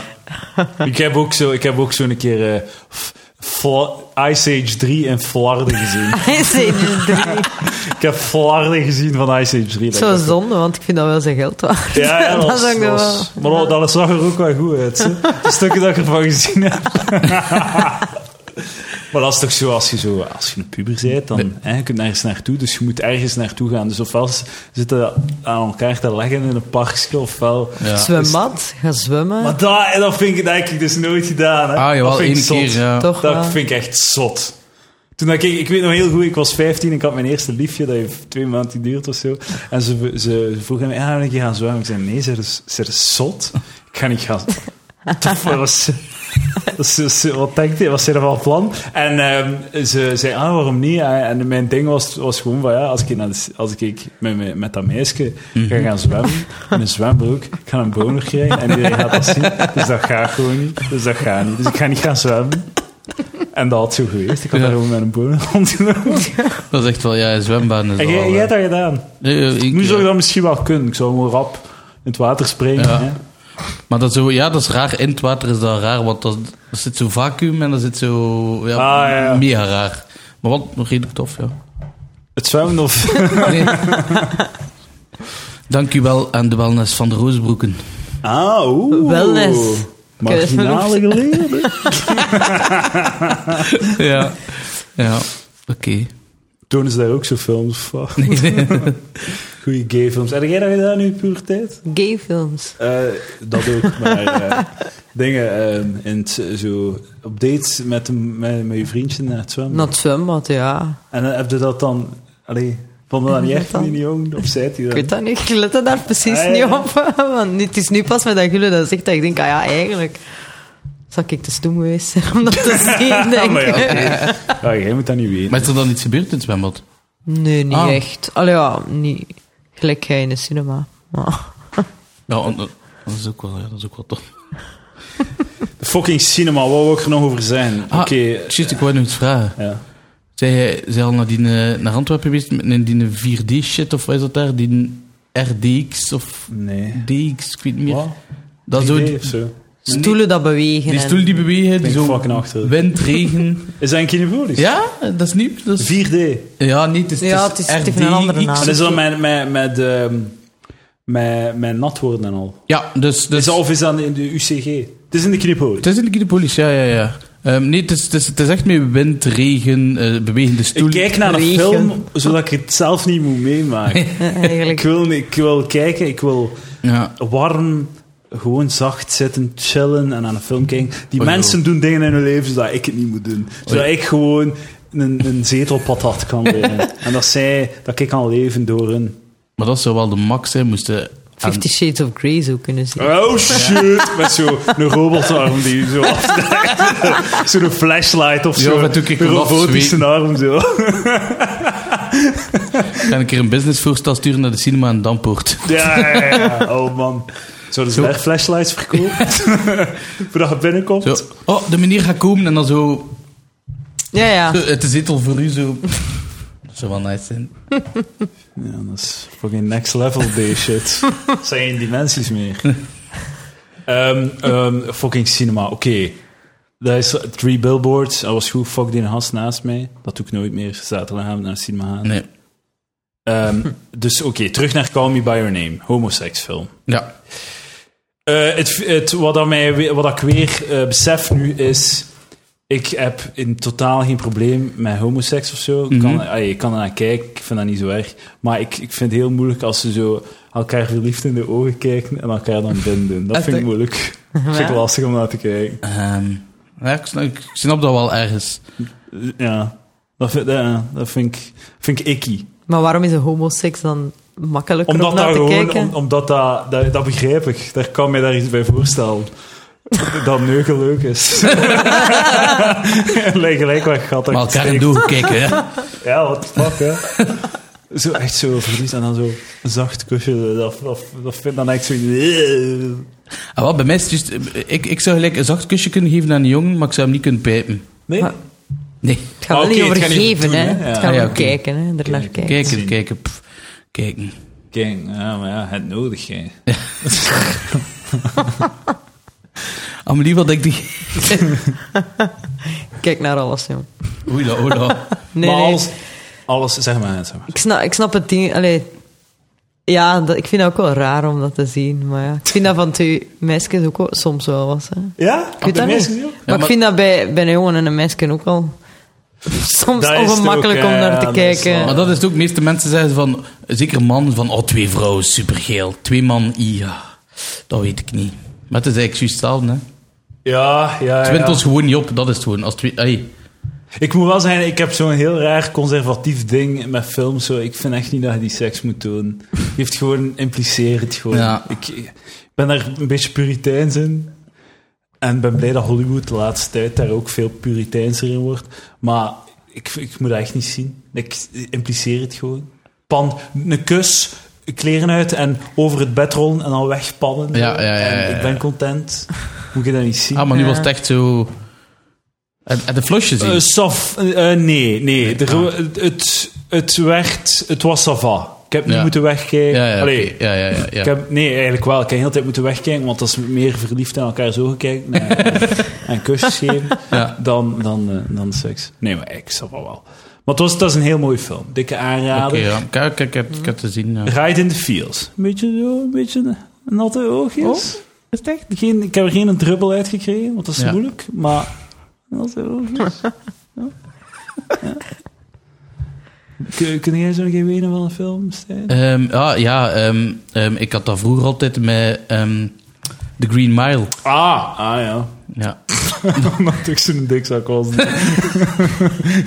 S2: Ah,
S1: Ik heb ook zo, ik heb ook zo een keer eh, F- Fla- Ice Age 3 en Flarden gezien.
S3: Hij zei dus drie.
S1: ik heb Flarden gezien van Ice Age 3. Dat
S3: Zo
S1: ik-
S3: zonde, want ik vind dat wel zijn geld waard.
S1: Ja, ja, dat,
S3: dat
S1: was,
S3: zou ik
S1: dat
S3: nog
S1: was- maar dat, dat zag er ook wel goed uit. Hè? De stukken dat ik ervan gezien heb. maar dat is toch zo, als je, zo, als je een puber bent, dan hè, je kunt nergens naartoe. Dus je moet ergens naartoe gaan. Dus ofwel z- zitten aan elkaar te leggen in een parkje, ofwel...
S2: Ja.
S3: Zwembad, ga zwemmen.
S1: Maar dat, dat, vind ik, dat heb ik dus nooit gedaan. Hè.
S2: Ah,
S1: dat
S2: jawel,
S1: vind ik
S2: één
S1: zot.
S2: keer. ja.
S3: Toch wel.
S1: Dat vind ik echt zot. Toen dat ik, ik weet nog heel goed, ik was 15 en ik had mijn eerste liefje, dat heeft twee maanden geduurd of zo. En ze, ze vroegen me, ja, wil ik je gaan zwemmen? Ik zei, nee, ze is, ze is zot. Ik ga niet gaan. Tof, wat was- dat is- dat is- wat denkt hij? Wat zijn er van plan? En ehm, ze zei, ah, waarom niet? En mijn ding was, was gewoon van, ja, als ik, naar de- als ik met, met, met dat meisje ga gaan zwemmen, in een zwembroek, ik ga een boner krijgen en iedereen gaat dat zien. Dus dat gaat gewoon niet. Dus dat gaat niet. Dus ik ga niet gaan zwemmen. En dat had zo geweest. Ik had
S2: Ja.
S1: daar gewoon met een boner rondgelopen.
S2: Dat is echt wel, ja, zwembaden is
S1: En jij,
S2: wel...
S1: jij
S2: eh,
S1: hebt dat gedaan.
S2: nee, ik,
S1: Nu zou
S2: eh,
S1: ik dat misschien wel kunnen. Ik zou gewoon rap in het water springen.
S2: Ja.
S1: hè.
S2: Maar dat, zo, ja, dat is raar. In het water is dat raar, want dat, er zit zo'n vacuüm en dat zit zo... Ja,
S1: Ah, ja.
S2: Mega raar. Maar wat, nog redelijk tof, ja.
S1: Het zwemmen of...
S2: Nee. Dank u wel aan de wellness van de Roosbroeken.
S1: Ah, oeh.
S3: Wellness.
S1: Marginale geleerden.
S2: Ja. Ja, oké.
S1: Toen is daar ook zo films van. Goeie gay films. Heb jij dat gedaan in je puberteit?
S3: Gayfilms.
S1: Eh, dat ook, maar eh, dingen eh, in het, eh, zo, op dates met, een- met, met je vriendje naar het zwemmen.
S3: Naar het zwembad, ja.
S1: En dan heb je dat dan... Allee, vond je dat niet echt
S3: Dan-
S1: niet jong? Of zei hij
S3: Ik
S1: dat?
S3: weet dat niet, ik let er daar precies
S1: Ah, ja.
S3: niet op. Want het is nu pas met dat jullie dat zegt dat ik denk, ah ja, eigenlijk zou ik te stoem geweest zijn om dat te zien,
S1: Ja,
S3: denk
S1: maar ja,
S3: ik.
S1: oké. Ja, jij moet dat niet weten.
S2: Maar is er dan iets gebeurd in het zwembad?
S3: Nee, niet
S2: Ah.
S3: echt. Allee, ja, niet gelijk jij in de cinema. Maar-
S2: Ja, want, eh, dat is ook wel, ja, dat is ook wel tof.
S1: Fucking cinema, wat wil ik er nog over zijn? Oké.
S2: Ah, Juist, ik wou nog iets vragen.
S1: ja.
S2: Zij jij zij al naar, die, eh, naar Antwerpen geweest met een- die 4D-shit of wat is dat daar? Die RDX of
S1: Nee.
S2: DX, ik weet niet meer.
S1: Wat?
S2: Dat is zo,
S1: Idee
S2: die,
S1: of zo.
S3: Stoelen dat bewegen.
S2: die
S3: en-
S2: stoel die bewegen, die
S1: Ben ik
S2: zo
S1: fucking achter.
S2: wind, regen.
S1: Is dat een kinevolisch?
S2: Ja, dat is nieuw. Dat is,
S1: 4D.
S2: ja, niet. dus Het is,
S3: Ja, het is- het heeft
S2: RD
S3: een andere
S2: iets.
S3: naam.
S1: En dat is dan met, met, met, ehm, met, met nat worden en al.
S2: Ja, dus...
S1: Is
S2: dus
S1: dat, of is dat in de UCG? Het is in de knipolie.
S2: het is in de politie, ja, ja, ja. Ehm, nee, het is, het, is, het is echt meer wind, regen, eh, bewegende
S1: Ik
S2: stoelen.
S1: kijk naar een
S3: regen.
S1: film, zodat ik het zelf niet moet meemaken.
S3: Ja,
S1: ik,
S3: eh, eigenlijk.
S1: wil, ik wil kijken, ik wil
S2: Ja.
S1: warm, gewoon zacht zitten, chillen en aan een film kijken. Die
S2: Oh,
S1: mensen doen dingen in hun leven zodat ik het niet moet doen. Zodat
S2: Oh,
S1: ik gewoon een, een zetelpatat kan leren. en dat zij, dat ik kan leven door hun.
S2: Maar dat zou wel de max zijn, moesten... aan-
S3: Fifty Shades of Grey zou kunnen zien.
S1: Oh shit! Met zo'n robotarm die je zo afdraait. Zo'n flashlight of
S2: Ja,
S1: zo.
S2: of natuurlijk
S1: een
S2: een
S1: robotische arm zo.
S2: Ik ga een keer een businessvoorstel sturen naar de cinema in Dampoort.
S1: Ja, ja, ja, ja. Oh man. Zouden ze
S2: Zo.
S1: daar flashlights verkopen? Voordat je binnenkomt?
S2: Zo, oh, de meneer gaat komen en dan zo...
S3: Ja, ja.
S2: zo, Het is zetel voor u, zo... Dat zou wel nice zijn.
S1: Ja, dat is fucking next level day shit. Dat zijn geen dimensies meer. Ehm, ehm, fucking cinema, oké. Dat is Three Billboards, dat was goed. Fuck die gast naast mij. Dat doe ik nooit meer. Zaterdagavond naar het cinema gaan.
S2: Nee.
S1: Ehm, dus oké, terug naar Call Me By Your Name. Homoseksfilm.
S2: Ja.
S1: Eh, het, het, wat, dat mij, we- wat dat ik weer eh, besef nu is... Ik heb in totaal geen probleem met homoseks of zo. Ik
S2: Mhm.
S1: kan, allee, ik kan er naar kijken, ik vind dat niet zo erg. Maar ik, ik vind het heel moeilijk als ze zo elkaar verliefd in de ogen kijken en elkaar dan binden. Dat
S2: Echt,
S1: vind ik
S2: hè?
S1: moeilijk. Dat vind ik lastig om naar te kijken.
S2: Ehm, ja, ik, snap, ik snap dat wel ergens.
S1: Ja, dat vind, ja, dat vind ik, vind ik icky.
S3: Maar waarom is een homoseks dan makkelijker om,
S1: Omdat
S3: naar
S1: dat
S3: te
S1: gewoon,
S3: kijken?
S1: om- omdat dat, dat, dat begrijp ik. Daar kan mij daar iets bij voorstellen. dat neuken leuk is. Lijkt gelijk wat gat. dat
S2: Maar
S1: ik
S2: elkaar in
S1: steek.
S2: de ogen kijken, hè.
S1: Ja, wat de fuck, hè. Zo echt zo verlies en dan zo een zacht kusje. Dat, dat, dat vind dan echt zo...
S2: Ah, wel, bij mij is het juist... eh, Ik, ik zou gelijk een zacht kusje kunnen geven aan een jongen, maar ik zou hem niet kunnen pijpen.
S1: Nee?
S3: Maar-
S2: Nee.
S3: Het gaat
S1: Ah,
S3: wel
S1: oké,
S3: niet
S1: het
S3: over
S1: gaat niet over
S3: geven,
S1: doen,
S3: hè.
S1: hè. Ja.
S3: Het gaat
S2: Ah, ja,
S3: over
S2: oké.
S3: kijken, hè. Er naar
S1: Kijken.
S3: kijken.
S2: Kijken,
S1: zien.
S2: kijken, pff, kijken.
S1: Kijk, ja, maar ja, het nodig, hè.
S2: Amelie, wat denk je?
S3: Kijk naar alles, joh.
S2: Oei, la, oei, la.
S3: Nee,
S1: maar
S3: nee.
S1: alles, alles... Zeg maar, zeg maar.
S3: Ik, snap, ik snap het ding. Allee, ja, dat, ik vind dat ook wel raar om dat te zien. Maar ja, ik vind dat van twee meisjes ook wel, soms wel was. Hè.
S1: Ja?
S3: Ik weet dat niet. maar, ik
S2: maar-
S3: vind dat bij, bij een jongen en een meisje ook al soms
S1: Dat is het
S3: ongemakkelijk
S1: ook,
S3: om
S1: ja,
S3: naar te
S1: dat is
S3: kijken.
S1: wel-
S2: Maar dat is het ook, meeste mensen zeggen van, zeker man, van, oh, twee vrouwen, supergeel. Twee man, ja, dat weet ik niet. Maar het is eigenlijk juist hetzelfde, hè.
S1: Ja, ja, Ah,
S2: Het
S1: ja.
S2: wint ons gewoon niet op, dat is het gewoon. Als twee, ai.
S1: Ik moet wel zeggen, ik heb zo'n heel raar conservatief ding met films. Zo. Ik vind echt niet dat je die seks moet doen. Je heeft gewoon, impliceer het gewoon.
S2: Ja.
S1: Ik, ik ben daar een beetje puriteins in. En ben blij dat Hollywood de laatste tijd daar ook veel puriteinser in wordt. Maar ik, ik moet dat echt niet zien. Ik impliceer het gewoon. Pan, een kus, kleren uit en over het bed rollen en dan wegpannen.
S2: Ja, ja, ja, ja,
S1: En ik
S2: ja.
S1: ben content. Moet je dat niet zien?
S2: Ah, maar nu
S3: Ja.
S2: was het echt zo... En en de flosje zien. Ah.
S1: Eh, saf, eh, eh, nee, nee. De ro- het, het werd, het was sava. Ik heb niet
S2: Ja.
S1: moeten wegkijken.
S2: ja, ja,
S1: Allee,
S2: oké. ja, ja, ja. ja.
S1: ik heb, nee, eigenlijk wel. Ik heb de hele tijd moeten wegkijken, want als we meer verliefd in elkaar zo gekeken en, en kusjes geven,
S2: Ja.
S1: dan, dan, eh, dan seks. Nee, maar ik sava wel. Maar het, was, het is een heel mooie film. Dikke
S2: Oké,
S1: aanrader.
S2: ja. Kijk, kijk, ik heb, ik heb te zien, ja.
S1: Ride in the Fields. Een beetje zo, een beetje een natte oogjes. is echt? Geen, ik heb er geen druppel uit gekregen, want dat is
S2: Ja.
S1: moeilijk. Maar natte oogjes. ja. Ja. Kun, kun jij zo nog even wenen van een film, Stijn?
S2: Ehm, ah, ja, ehm, ehm, ik had dat vroeger altijd met ehm The Green Mile.
S1: Ah, ah ja.
S2: Ja.
S1: Omdat ik zo'n dikzak was.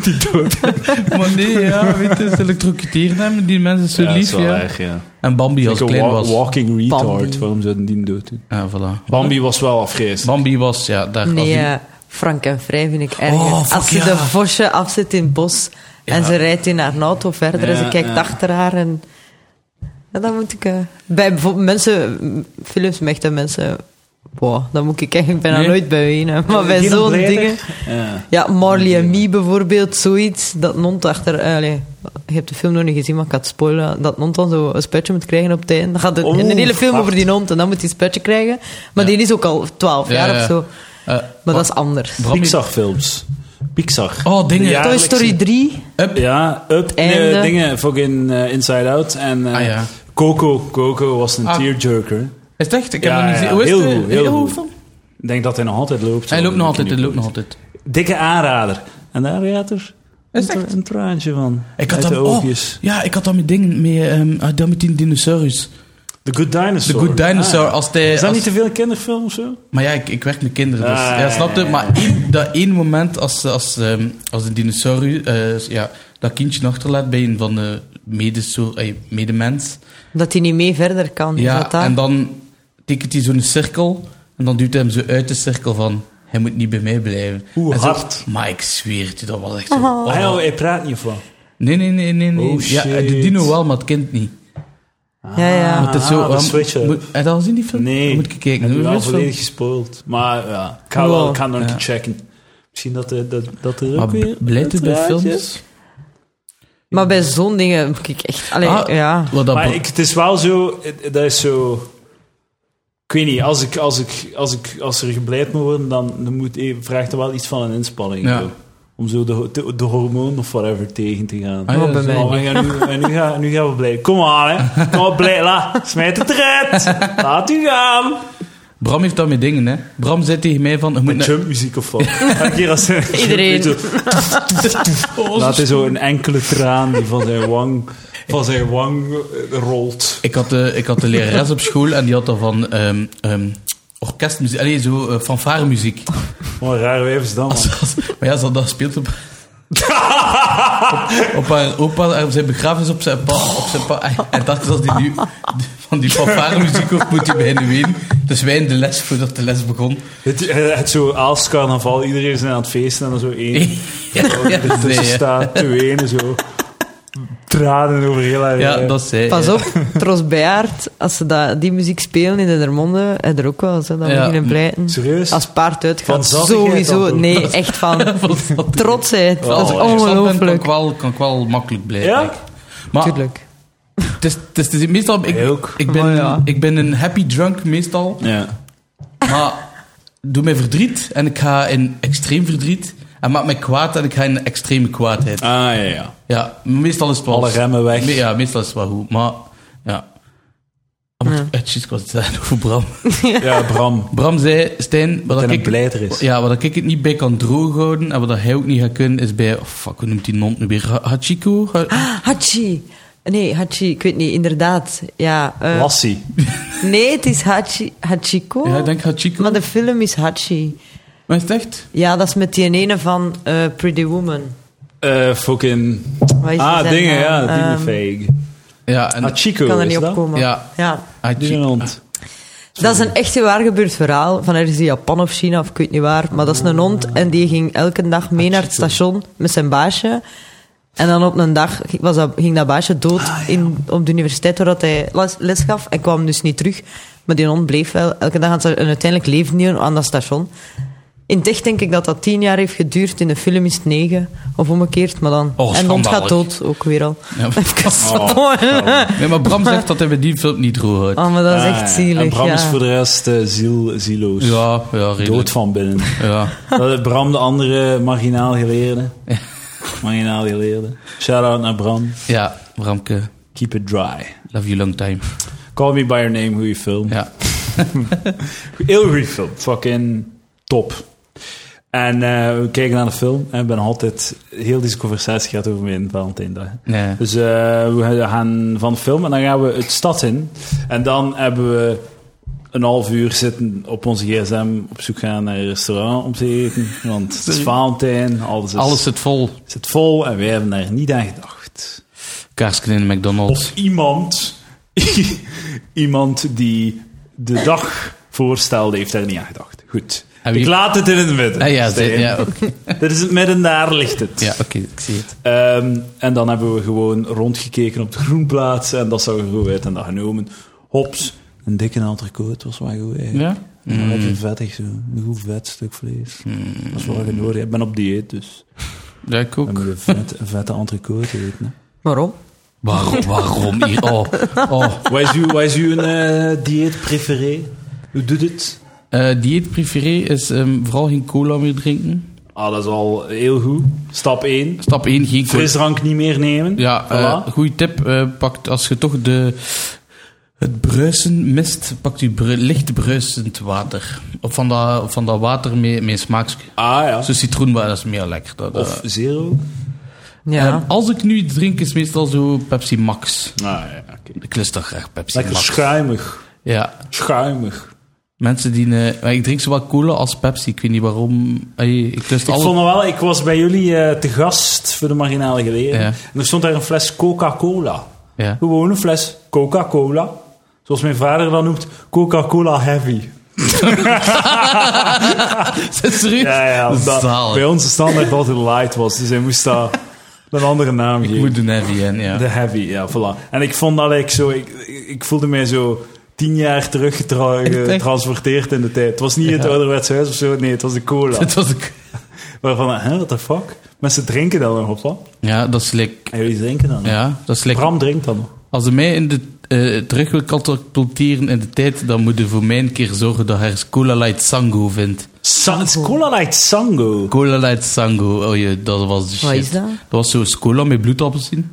S1: Die dood.
S2: Maar nee, ja, weet je, ze elektrocuteren hem, die mensen zo lief, ja.
S1: ja.
S2: En Bambi als
S1: Like
S2: klein
S1: een wa-
S2: was.
S1: walking retard.
S3: Bambi.
S1: Waarom zouden die hem dood doen?
S2: Ja, voilà.
S1: Bambi was wel afgeest.
S2: Bambi was, ja, daar was
S3: Nee,
S2: die-
S3: eh, Frank en Vrij vind ik erg.
S2: Oh, fuck
S3: Als ze
S2: ja.
S3: de vosje afzet in het bos en ze rijdt in haar auto verder en
S1: Ja,
S3: ze kijkt
S1: ja.
S3: achter haar en... Ja, dan moet ik... eh, bij bijvoorbeeld mensen... Films met echte mensen... Wow, daar moet ik eigenlijk bijna
S2: Nee.
S3: nooit bij wenen. Maar bij
S1: Geen
S3: zo'n
S1: blijder?
S3: dingen...
S1: Ja.
S3: Ja, Marley en Me bijvoorbeeld, zoiets. Dat Nont achter... eh, allee, je hebt de film nog niet gezien, maar ik ga het spoilen. Dat Nont dan zo een spuitje moet krijgen op het einde. Dan gaat het
S1: Oh,
S3: een hele film
S1: wacht.
S3: over die Nont en dan moet hij een spuitje krijgen. Maar die is ook al 12
S2: Ja,
S3: jaar
S2: ja.
S3: of zo.
S2: Eh,
S3: Maar dat is anders.
S2: Bambi-
S1: Pixar films. Pixar.
S2: Oh, dingen.
S1: Ja.
S3: Toy
S1: Jaarlijks-
S3: Story 3.
S2: Up.
S1: Ja, Up,
S3: En,
S1: nee,
S3: eh,
S1: dingen, fucking eh, Inside Out en eh,
S2: Ah, ja.
S1: Coco. Coco was een
S2: Ah.
S1: tearjerker.
S2: Is het echt? Ik
S1: Ja,
S2: heb nog
S1: ja,
S2: niet gezien. Hoe is
S1: heel
S2: het? eh,
S1: goed, heel
S2: Hoe
S1: goed.
S2: van?
S1: Ik denk dat hij nog altijd loopt.
S2: Hij
S1: zo.
S2: loopt nog altijd,
S1: Ik
S2: hij
S1: weet
S2: loopt
S1: niet
S2: nog
S1: hoe
S2: altijd.
S1: het Dikke aanrader. En daar gaat er
S2: Is
S1: een,
S2: het echt?
S1: tra- een traantje van.
S2: Ik had
S1: uit
S2: dan,
S1: de
S2: oh,
S1: oogjes.
S2: ja, ik had dan met dingen mee, ehm, ah, dan met die dinosaurus.
S1: The Good
S2: The
S1: Dinosaur.
S2: Good Dinosaur.
S1: Ah.
S2: als die,
S1: Is dat
S2: als-
S1: niet te veel een kinderfilm of zo?
S2: Maar ja, ik, ik werk met kinderen, dus...
S1: Ah,
S2: ja, snap je?
S1: ja, ja,
S2: Maar één- dat één moment als, als, ehm, als een dinosaurus eh, ja, dat kindje achterlaat bij een van de medesoor- eh, medemens...
S3: Dat hij niet mee verder kan. is dat
S2: Ja,
S3: dat?
S2: en dan tekent hij zo'n cirkel en dan duwt hij hem zo uit de cirkel van... Hij moet niet bij mij blijven.
S1: Hoe
S2: En zo-
S1: hard?
S2: maar ik zweer het je, dat was echt zo...
S1: Ah, ja,
S2: oh.
S1: hij praat niet van.
S2: Nee, nee, nee, nee. nee.
S1: Oh,
S2: ja, eh, de
S1: shit.
S2: dino wel, maar het kind niet.
S3: Ja, ja.
S2: Want het is
S1: ah,
S2: zo...
S1: dat
S2: ehm,
S1: switch up.
S2: moet- Heb je al gezien die film?
S1: Nee,
S2: Dan moet ik kijken.
S1: heb je
S2: Hoe
S1: wel
S2: is het film?
S1: volledig gespoild. Maar ja, ik ga wel ik ga nog een
S2: Ja.
S1: keer checken. Misschien dat, er- dat, dat er
S2: Maar
S1: ook weer...
S2: blijft het
S1: een
S2: bij
S1: draadje-
S2: films?
S3: Maar bij zo'n dingen moet ik echt... Allee,
S2: Ah,
S3: ja.
S2: Wat dat
S1: Maar ik, het is wel zo... het- Dat is zo... Ik weet niet, als, ik, als, ik, als, ik, als er gebleid moet worden, dan, dan moet, eh, vraagt er wel iets van een inspanning.
S2: Ja.
S1: zo. Om zo de, ho- de, de hormoon of whatever tegen te gaan.
S2: Ah, ja,
S3: Oh, bij
S2: zo.
S3: mij.
S1: Oh, en nu, en nu, gaan, nu gaan we blij. Kom aan, hè. Kom op, blij. La, smijt het eruit. Laat u gaan.
S2: Bram heeft dat met dingen, hè. Bram zei tegen mij van... Je moet
S1: Met
S2: naar-
S1: jumpmuziek of wat. Elke keer als ze-
S3: Iedereen.
S1: Zo- Laat hij zo een enkele traan die van zijn wang, van zijn wang eh, rolt.
S2: Ik had, de, ik had de lerares op school en die had dan van ehm, ehm, orkestmuziek, alleen zo eh, fanfaremuziek.
S1: Wat een raar wijf is dat, man.
S2: Als- als- maar ja, ze had dat speelt op, op, op haar opa, eh, op zijn begrafenis op zijn pa. Op zijn pa en- en dacht dat die nu van die fanfaremuziek of moet hij beginnen ween. Dus wij in de les, voordat de les begon.
S1: Het, het, het zo aals carnaval, iedereen is aan het feesten en dan zo één.
S2: Ja, ja,
S1: Er
S2: dat
S1: tussen
S2: zei je.
S1: staat, twee ene zo. Tranen over heel haar
S2: Ja,
S1: lijf.
S2: dat zei je.
S3: Pas op, Tros Bejaard, als ze dat, die muziek spelen in de Dermonde, en er ook wel eens, hè, dan
S2: Ja,
S3: beginnen pleiten.
S1: Serieus?
S3: Als paard
S1: Van
S3: uitgaat,
S1: zaligheid dan
S3: sowieso.
S1: toch?
S3: Nee, echt van
S2: Van-
S3: trotsheid. dat is
S2: Als ik zat ben, Kan ik
S3: ongelooflijk.
S2: wel, kan ik wel makkelijk blijven.
S1: Ja?
S2: denk ik. Maar
S3: Tuurlijk.
S2: het is, het is, het is meestal... Ik,
S1: Jij ook.
S2: Ik, ben,
S3: Maar ja.
S2: ik ben een happy drunk meestal.
S1: Ja.
S2: Maar doe mij verdriet en ik ga in extreem verdriet. En maak mij kwaad en ik ga in extreme kwaadheid.
S1: Ah, ja, ja.
S2: Ja, meestal is het wel...
S1: Alle remmen weg.
S2: Me- ja, meestal is het wel goed. Maar, ja... Ah, maar- eh, shit, ik was het zeggen over Bram.
S1: Ja, Bram.
S2: Bram zei, Stijn, wat
S1: Dat
S2: dat
S1: hij een
S2: ik,
S1: blijder is.
S2: ja, wat ik het niet bij kan drooghouden en wat dat hij ook niet gaat kunnen, is bij... Oh, fuck, hoe noemt die non nu weer? Ha- Hachiko? Ha-
S3: Ah. Hachi. Nee, Hachi, ik weet niet, inderdaad. Ja, eh,
S1: Lassie.
S3: nee, het is Hachi, Hachiko.
S2: Ja, ik denk Hachiko.
S3: Maar de film is Hachi.
S2: Maar is het echt?
S3: Ja, dat is met die ene van eh, Pretty Woman.
S1: Eh, fucking...
S3: Wat is
S1: Ah,
S3: zijn
S1: dingen,
S3: naam?
S1: ja.
S3: Ehm,
S1: Dierenveeg.
S2: Ja, en...
S1: Ah, Chico
S3: Ik kan er
S1: is
S3: niet op
S1: dat?
S3: komen.
S2: Ja.
S3: ja.
S2: Hachi-
S1: Dierenhond.
S3: Dat is een echte waar gebeurd verhaal. Van ergens in Japan of China of ik weet niet waar. Maar dat is een hond en die ging elke dag mee naar het station met zijn baasje. En dan op een dag ging- was dat, ging dat baasje
S1: Ah,
S3: dood in, op de universiteit waar dat hij les, les gaf. En kwam dus niet terug. Maar die hond bleef wel elke dag aan het sta- En uiteindelijk leefde die aan dat station. In het echt denk ik dat dat tien jaar heeft geduurd. In de film is het negen. Of omgekeerd, maar dan.
S2: Oh,
S3: en de hond gaat
S2: schandalig.
S3: dood, ook weer al.
S2: Ja.
S3: Even
S1: Oh,
S3: zo.
S2: Nee, maar Bram zegt dat hij bij die film niet droog houdt.
S3: Oh, maar dat is
S1: Ah, ja.
S3: echt zielig.
S1: En Bram
S3: ja.
S1: is voor de rest eh, ziel, zieloos.
S2: Ja, ja, redelijk.
S1: Dood van binnen.
S2: Ja.
S1: Dat is Bram, de andere marginaal geleerde. Marginaal geleerde. Shout-out naar Bram.
S2: Ja, Bramke,
S1: Keep it dry.
S2: love you long time.
S1: Call Me By Your Name, goede film.
S2: Ja.
S1: Heel goede film. Fucking top. En eh, we kijken naar de film en ik ben altijd... Heel deze conversatie gaat over mijn Valentijndag.
S2: Nee.
S1: Dus eh, we gaan van de film en dan gaan we het stad in. En dan hebben we een half uur zitten op onze gsm op zoek gaan naar een restaurant om te eten. Want het is
S2: Sorry.
S1: Valentijn, alles is...
S2: Alles zit vol.
S1: zit vol en wij hebben daar niet aan gedacht.
S2: Kaarsken in de McDonald's.
S1: Of iemand, iemand die de dag voorstelde, heeft daar niet aan gedacht. Goed.
S2: En wie-
S1: Ik laat het in het midden.
S2: Ah, ja,
S1: Stijn.
S2: ze- ja, oké.
S1: Dit is het midden, daar ligt het.
S2: ja, oké, ik zie het.
S1: Ehm, en dan hebben we gewoon rondgekeken op de groenplaats en dat zag er goed uit en dat genomen. Hops, een dikke entrecote was wel goed eigenlijk.
S2: Ja? Hmm.
S1: En dan Lekker vettig zo, een goed vet stuk vlees. Dat is wel genoeg. nodig. Ik ben op dieet, dus
S2: Ja, ik Hmm. ook.
S1: we moeten vet, vette entrecote eten. hè.
S3: Waarom?
S2: Waarom, waarom hier? Oh, oh.
S1: Wat is uw, wat is uw eh, dieet preferé? Hoe doet het?
S2: Eh, dieet preferé is ehm, vooral geen cola meer drinken.
S1: Ah, dat is al heel goed. Stap 1.
S2: Stap 1, geen cola.
S1: Frisdrank niet meer nemen.
S2: Ja, eh,
S1: Voilà.
S2: goede tip. eh, pakt als je toch de Het bruisen mist pakt u bru licht bruisend water. Of van dat, van dat water mee, mee smaak.
S1: Ah ja.
S2: Zo citroenwater, dat is meer lekker. Dat, eh.
S1: Of zero.
S3: Ja.
S2: En als ik nu iets drink, is meestal zo Pepsi Max.
S1: Ah ja, oké.
S2: Ik lust toch graag Pepsi
S1: Lekker
S2: Max.
S1: schuimig.
S2: Ja,
S1: Schuimig.
S2: mensen die... eh, maar ik drink zowel cola als Pepsi. Ik weet niet waarom. Ey, ik lust
S1: Ik,
S2: alle...
S1: vond het wel, ik was bij jullie eh, te gast voor de marginale geleden.
S2: Ja.
S1: En er stond daar een fles Coca-Cola.
S2: Ja.
S1: Gewoon een fles Coca-Cola. Zoals mijn vader dat noemt, Coca-Cola Heavy.
S2: Serieus?
S1: Ja, ja, omdat
S2: Zalig.
S1: bij ons de standaard altijd light was. Dus hij moest daar een andere naam
S2: Ik
S1: geven.
S2: moet een heavy in, ja.
S1: De heavy, ja, voilà. En ik vond dat ik zo... Ik, ik voelde mij zo tien jaar
S2: Echt, echt?
S1: teruggetransporteerd in de tijd. Het was niet het
S2: Ja.
S1: ouderwetse huis of zo. Nee, het was de cola.
S2: Het was ik.
S1: Waarvan, hè, what the fuck? Mensen drinken dan nog op, wat?
S2: Ja, dat is lekker.
S1: En jullie drinken dan nog?
S2: Ja, dat is lekker.
S1: Bram drinkt dan nog.
S2: Als ze mij in de, eh, terug wil katapulteren in de tijd, dan moet je voor mij een keer zorgen dat hij Cola Light Sango vindt.
S1: Sa- het is Cola Light Sango.
S2: Cola Light Sango, oh je, dat was de shit.
S3: Wat is dat? Ah.
S2: Dat was zo'n cola met bloedappelsien.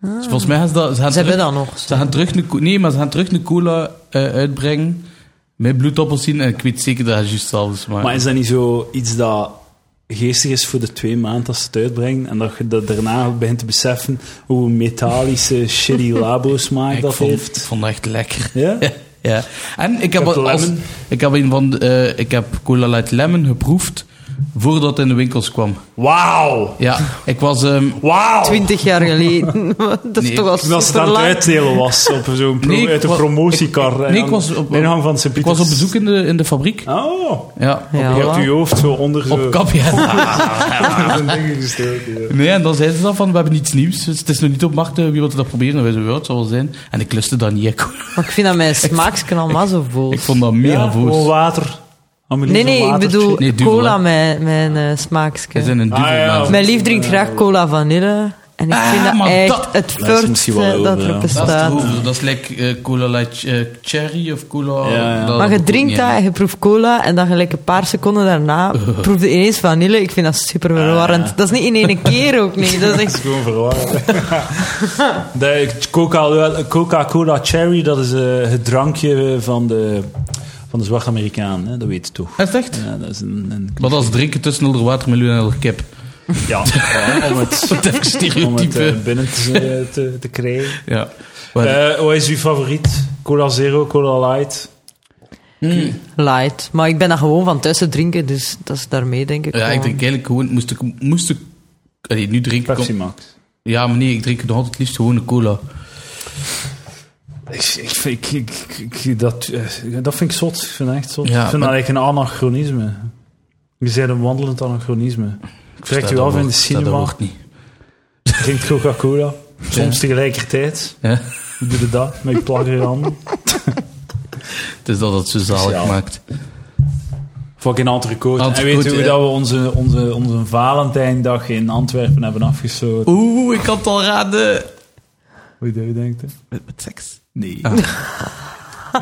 S2: Dus volgens mij gaan ze dat... Ze, gaan
S3: Ze hebben
S2: terug-
S3: dat nog.
S2: Ze gaan terug een, co- nee, maar ze gaan terug een cola eh, uitbrengen met bloedappelsien. En ik weet zeker dat hij juist zelfs maakt.
S1: Maar is dat niet zo iets dat geestig is voor de twee maanden als ze het uitbrengen en dat je dat daarna begint te beseffen hoe metallische shitty labosmaak
S2: ik,
S1: dat
S2: vond,
S1: heeft?
S2: ik vond het echt lekker.
S1: Ja?
S2: ja. En ik heb,
S1: heb
S2: al- als-
S1: lemon.
S2: ik heb een van de, eh, ik heb Cola Light Lemon geproefd voordat het in de winkels kwam.
S1: Wauw!
S2: Ja, ik was... ehm,
S1: Wauw!
S3: Twintig jaar geleden. dat is
S2: Nee,
S3: toch al
S1: Als het aan
S3: super
S1: het
S3: lang.
S1: uitdelen was op zo'n pro-
S2: Nee, ik
S1: uit de
S2: was-
S1: promotiekar.
S2: ik-
S1: en
S2: nee, ik
S1: aan-
S2: was op-
S1: ingang van Sint
S2: ik was op bezoek in de, in de fabriek.
S1: Oh,
S2: Ja,
S3: Ja,
S1: je hebt
S3: voilà.
S1: je hoofd zo onder zo.
S2: op kap, ja.
S1: zo'n ding gestoken, ja.
S2: Nee, en dan zeiden ze dan van, we hebben iets nieuws. Dus het is nog niet op markt, eh, wie wil dat proberen? En wij zo, ja, het zal wel zijn. En ik lustte dat niet. Ik,
S3: Maar ik vind dat mijn smaakskanaal allemaal zo vol.
S2: ik vond dat mega
S1: Ja, oh,
S2: voos.
S1: gewoon water. Amelie
S3: Nee,
S1: van
S3: nee, ik
S1: water.
S3: bedoel
S2: Nee, duvel,
S3: cola,
S2: hè.
S3: mijn, mijn eh,
S2: We
S3: smaakske.
S2: zijn een duvel.
S1: Ah, ja.
S2: mensen.
S3: Mijn lief drinkt graag cola vanille. En ik
S2: Ah,
S3: vind dat
S2: maar
S3: echt
S2: dat-
S3: het
S1: Dat is
S3: furtste
S1: misschien
S3: dat,
S1: wel over, ja.
S3: er
S2: eh, Dat is te
S3: bestaat.
S2: over. Dat is lekker eh, cola light eh, cherry of cola...
S1: Ja, ja.
S2: dat-
S3: maar je
S2: dat
S3: drinkt
S2: ook
S3: dat
S2: niet,
S3: en je proeft cola en dan gelijk een paar seconden daarna
S2: Eh.
S3: proef je ineens vanille. Ik vind dat super verwarrend. Dat is niet in één keer ook niet. Dat is
S1: Dat
S3: echt...
S1: is gewoon verwarrend. De Coca- Coca-Cola Cherry, dat is eh, het drankje van de, van de zwarte Amerikaan, hè? dat weet je toch.
S2: hè. Is het echt?
S1: Ja, dat is een... een-
S2: Maar dat is drinken tussen onder watermeloen en onder kip.
S1: ja, om het,
S2: Dat is echt
S1: om het eh,
S2: stereotype.
S1: binnen te, te, te krijgen.
S2: Ja. Maar-
S1: Eh, wat is uw favoriet? Cola Zero, Cola Light?
S3: Light. Maar ik ben dat gewoon van thuis te drinken, dus dat is daarmee denk ik.
S2: Ja, ik
S3: gewoon.
S2: drink eigenlijk gewoon... Moest ik... Moest ik allee, nu drink ik...
S1: oh. Pepsi
S2: om-
S1: Max.
S2: Ja, maar nee, ik drink nog altijd het liefst gewoon een cola.
S1: Ik, ik, vind- ik, ik- ik- dat, eh, dat vind ik zot. Ik vind dat echt zot.
S2: Ja,
S1: ik vind dat
S2: maar-
S1: eigenlijk een anachronisme. Je bent een wandelend anachronisme. Trekt u af in de
S2: Dat
S1: cinema,
S2: wordt niet.
S1: drinkt Coca-Cola. Soms tegelijkertijd.
S2: Ja?
S1: Hoe doe je dat? Met je plagger handen.
S2: Het is dat het zo zalig
S1: Speciaal.
S2: maakt.
S1: Fucking entrecote. En
S2: Entrecote,
S1: weet u hoe
S2: ja.
S1: dat we onze, onze, onze Valentijndag in Antwerpen hebben afgesloten?
S2: Oeh, ik kan het al raden.
S1: Hoe dat je denkt, hè?
S2: Met, met seks?
S1: Nee.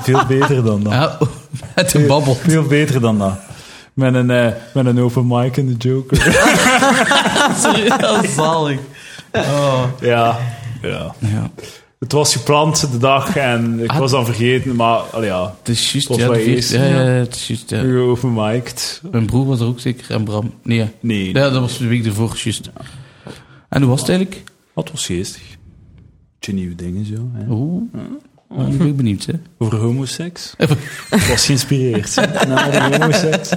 S1: Veel beter dan dat.
S2: Ah, Ja, oeh, met een babbel.
S1: Veel beter dan dat. Met een, eh, met een open mic en de Joker.
S2: Sorry, dat is zalig. Oh.
S1: ja. ja.
S2: Ja,
S1: Het was gepland de dag en ik
S2: Ah.
S1: was dan vergeten, maar allee, ja,
S2: het is juist.
S1: Of
S2: Ja, de
S1: wij
S2: vier-
S1: eerst.
S2: ja, ja, het is juist. Ja.
S1: u overmiked.
S2: Mijn broer was er ook zeker en Bram. Nee, ja.
S1: Nee,
S2: ja, dat was de week ervoor, juist. En hoe was het eigenlijk?
S1: dat was geestig. Tje nieuwe dingen zo. Hè.
S2: Oeh, Ja, ik ben benieuwd, hè.
S1: Over homoseks. Ik was geïnspireerd naar de homoseks.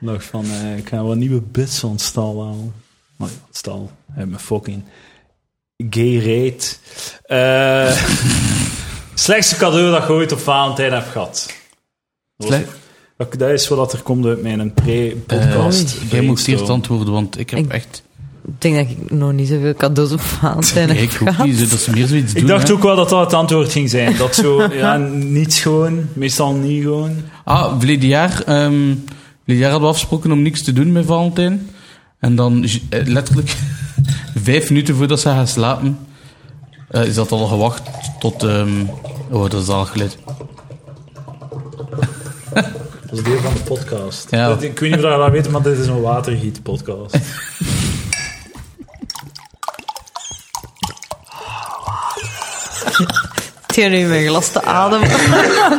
S1: Ik dacht van, eh, ik ga wat nieuwe bits van het stal halen. Maar ja, het stal, heb me fucking gay reet. Eh, slechtste cadeau dat ik ooit op Valentijn heb gehad. Dat was-
S2: Slecht.
S1: Dat dat is wat er komt uit mijn pre-podcast.
S2: Eh, jij moet eerst
S1: brainstorm.
S2: antwoorden, want ik heb
S3: Ik-
S2: echt...
S3: Ik denk dat ik nog niet zoveel cadeaus op Valentijn
S2: Nee,
S3: heb
S2: ik hoop
S3: gehad.
S2: niet zo dat ze meer zoiets doen.
S1: Ik dacht
S2: hè.
S1: ook wel dat dat het antwoord ging zijn. Dat zo, ja, niets gewoon, meestal niet gewoon.
S2: Ah, verleden jaar, ehm, verleden jaar hadden we afgesproken om niks te doen met Valentijn. En dan j- eh, letterlijk vijf minuten voordat ze gaan slapen, eh, is dat al gewacht tot... ehm, oh, dat is al geluid.
S1: Dat is deel van de podcast.
S2: Ja.
S1: Dat- ik weet niet of je dat weet, maar dit is een watergiet-podcast.
S3: je nu mijn glas te ademen?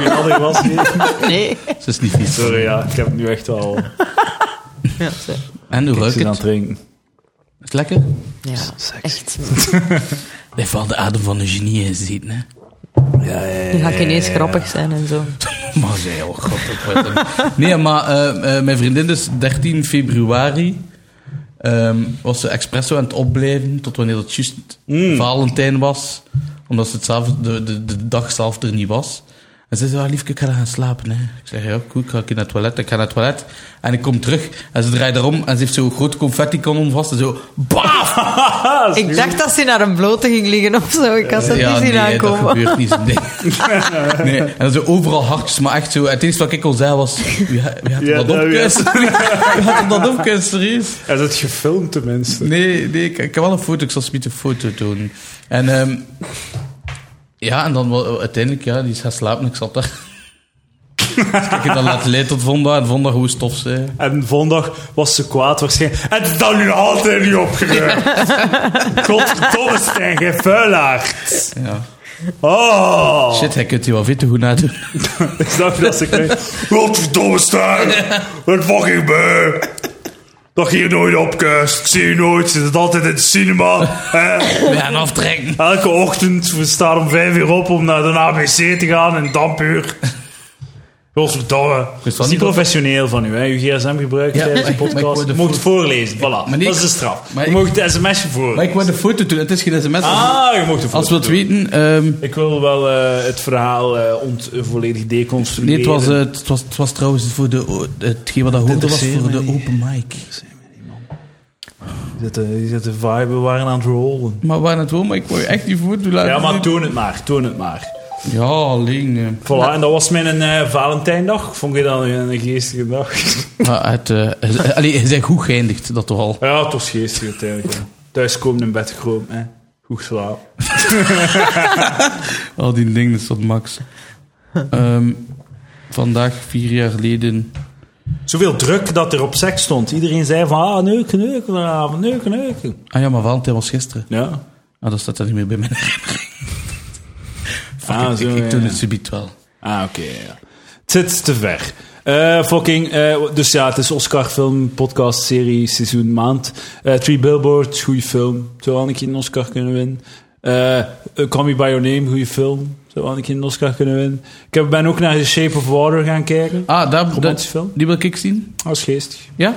S1: Ik had er was niet.
S3: Nee.
S2: Dat is niet vies.
S1: Sorry, ja, ik heb nu echt al
S3: Ja, zo.
S2: En hoe ruikt
S1: zin aan
S2: het?
S1: het drinken.
S2: Is het lekker?
S3: ja
S1: Sexy.
S3: echt.
S2: Hij valt de adem van een genie in zitten, hè.
S1: Ja, ja,
S3: Nu ga ik ineens grappig zijn en zo.
S2: Maar zij, oh god. ik word hem- Nee, maar eh, eh, mijn vriendin dus 13 februari ehm, was ze expresso aan het opblijven tot wanneer dat juist Valentijn was. Omdat ze het zelf, de, de, de dag zelf er niet was. En ze zei, ah, liefke, ik ga dan gaan slapen. Hè. Ik zeg, ja, goed, ik ga ik naar het toilet. Ik ga naar het toilet. En ik kom terug. En ze draait erom. En ze heeft zo'n groot confetti-kanon vast. En zo, baaf!
S3: Ik dacht dat ze naar een blote ging liggen of zo. Ik had ze niet zien
S2: nee, dat
S3: aankomen.
S2: gebeurt niet. zo, Nee. nee. En dan zo overal hartjes, maar echt zo... Het eerste wat ik al zei was... Wie, ha- wie had er
S1: Ja,
S2: dat
S1: dat
S2: opkuist? Wie had er dat opkuist, serieus?
S1: Is het gefilmd tenminste?
S2: Nee, nee ik, ik heb wel een foto. Ik zal zometeen een foto doen. En ehm, ja, en dan wel- uiteindelijk, ja, die is gaan slapen. Ik zat daar. dus ik heb dat laten leiden tot Vonda. En Vonda gewoon stof zei.
S1: En vondag was ze kwaad waarschijnlijk. En het is dan nu altijd niet opgeruimd. Godverdomme, Stijn, geen vuilaard.
S2: Ja.
S1: Oh,
S2: Shit, hij kunt hier wel veel te goed nadoen.
S1: ik snap dat ze krijgt. Godverdomme, Stijn. Wat fucking beu. Dat je hier nooit opkuist. Ik zie je nooit. Je zit altijd in de cinema. Eh,
S2: We gaan aftrekken.
S1: Elke ochtend, we staan om vijf uur op om naar de ABC te gaan in Dampuur. Godverdomme.
S2: dat
S1: Dat is niet
S2: niet op-
S1: professioneel van u, hè? Uw gsm gebruikt
S2: Ja,
S1: tijdens
S2: maar
S1: de
S2: ik- maar ik
S1: podcast.
S2: word
S1: Je
S2: er
S1: mocht
S2: voor-
S1: voorlezen, voilà.
S2: maar nee,
S1: dat is de
S2: ik-
S1: straf.
S2: maar
S1: je
S2: ik-
S1: mocht de sms'je
S2: Maar
S1: voorlezen.
S2: ik wou de foto doen. Het is geen sms.
S1: Ah, je mocht de
S2: Als we
S1: voorlezen.
S2: het weten... ehm,
S1: Ik wil wel eh, het verhaal eh, ont- eh, volledig deconstrueren.
S2: Nee, het was, eh, het, was, het was trouwens voor de, o- hetgeen wat dat hoorde was
S1: interesseert
S2: voor de
S1: mij niet.
S2: open mic.
S1: Die zetten- die zetten vibe, we waren aan het rollen.
S2: Maar waar het wel, maar ik wou je echt niet voordoen laten
S1: Ja, maar
S2: zien.
S1: toon het maar, toon het maar.
S2: Ja, alleen... eh.
S1: Voilà, en dat was mijn eh, Valentijndag. Vond je dat een, een geestige dag?
S2: Maar het... eh, allee, je bent goed geëindigd, dat toch al.
S1: ja, het was geestig uiteindelijk. ja. Thuiskomen in bed gekropen, hè. Goed slaap.
S2: Al die dingen, dat is tot max. Ehm, vandaag, vier jaar geleden...
S1: Zoveel druk dat er op seks stond. Iedereen zei van, ah, neuken, neuken vanavond, neuken, neuken.
S2: Ah ja, maar Valentijn was gisteren.
S1: Ja.
S2: Ah, dat staat er niet meer bij mij. Fuck
S1: Ah,
S2: it,
S1: zo,
S2: ik, ik
S1: ja.
S2: doe het subiet wel.
S1: Ah, oké. ja. Het zit te ver. Eh, fucking, eh, dus ja, het is Oscar film, podcast, serie, seizoen, maand. Eh, Three Billboards, goede film. Zou wel een keer een Oscar kunnen winnen. Eh, eh, Call Me By Your Name, goede film. Zou wel een keer een Oscar kunnen winnen. Ik heb- ben ook naar The Shape of Water gaan kijken.
S2: Ah, daar, daar,
S1: Romantische film.
S2: die wil ik zien.
S1: Dat was geestig.
S2: Ja?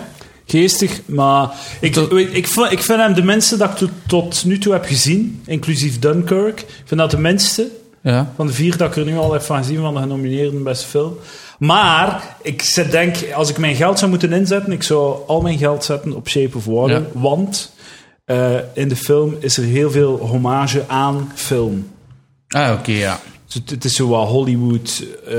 S1: Geestig, maar ik,
S2: Dat-
S1: weet- ik, vind, ik vind hem de mensen dat ik tot, tot nu toe heb gezien, inclusief Dunkirk, ik vind dat de minste
S2: Ja.
S1: van de vier dat ik er nu al heb van gezien van de genomineerden beste film. Maar ik zet- denk, als ik mijn geld zou moeten inzetten, ik zou al mijn geld zetten op Shape of Water.
S2: Ja.
S1: Want eh, in de film is er heel veel hommage aan film.
S2: Ah, oké, ja.
S1: Dus het, het is zo wat Hollywood eh,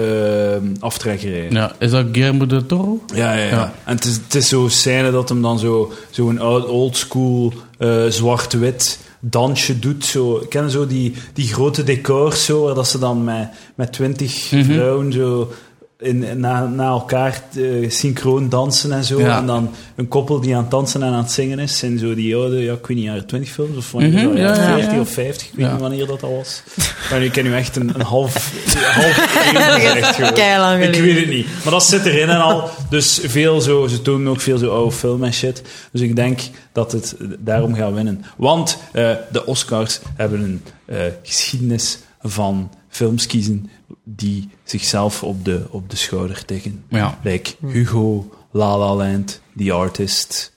S1: aftrekkerij.
S2: ja. Is dat Guillermo del Toro?
S1: Ja, ja, ja.
S2: Ja.
S1: En het is, het is zo'n scène dat hem dan zo'n zo een oud- oldschool eh zwart-wit dansje doet. Zo, kennen zo die, die grote decors zo, waar dat ze dan met, met twintig
S2: Mhm.
S1: vrouwen zo in, na, na elkaar eh, synchroon dansen en zo.
S2: Ja.
S1: En dan een koppel die aan het dansen en aan het zingen is. In zo die oude, ja, ik weet niet, jaren twintig films of wanneer,
S2: Mhm, ja,
S1: jaren
S2: ja, ja.
S1: 40 of 50, ik weet
S2: Ja.
S1: niet wanneer dat al was. Maar nu ken je echt een, een half... half eeuw echt gewoon. Ik
S3: Keilang geleden.
S1: weet het niet. Maar dat zit erin en al. Dus veel zo, ze tonen ook veel zo oude film en shit. Dus ik denk dat het daarom gaat winnen. Want eh, de Oscars hebben een eh, geschiedenis van films kiezen die zichzelf op de, op de schouder tikken.
S2: Ja.
S1: Like Hugo, La La Land, The Artist.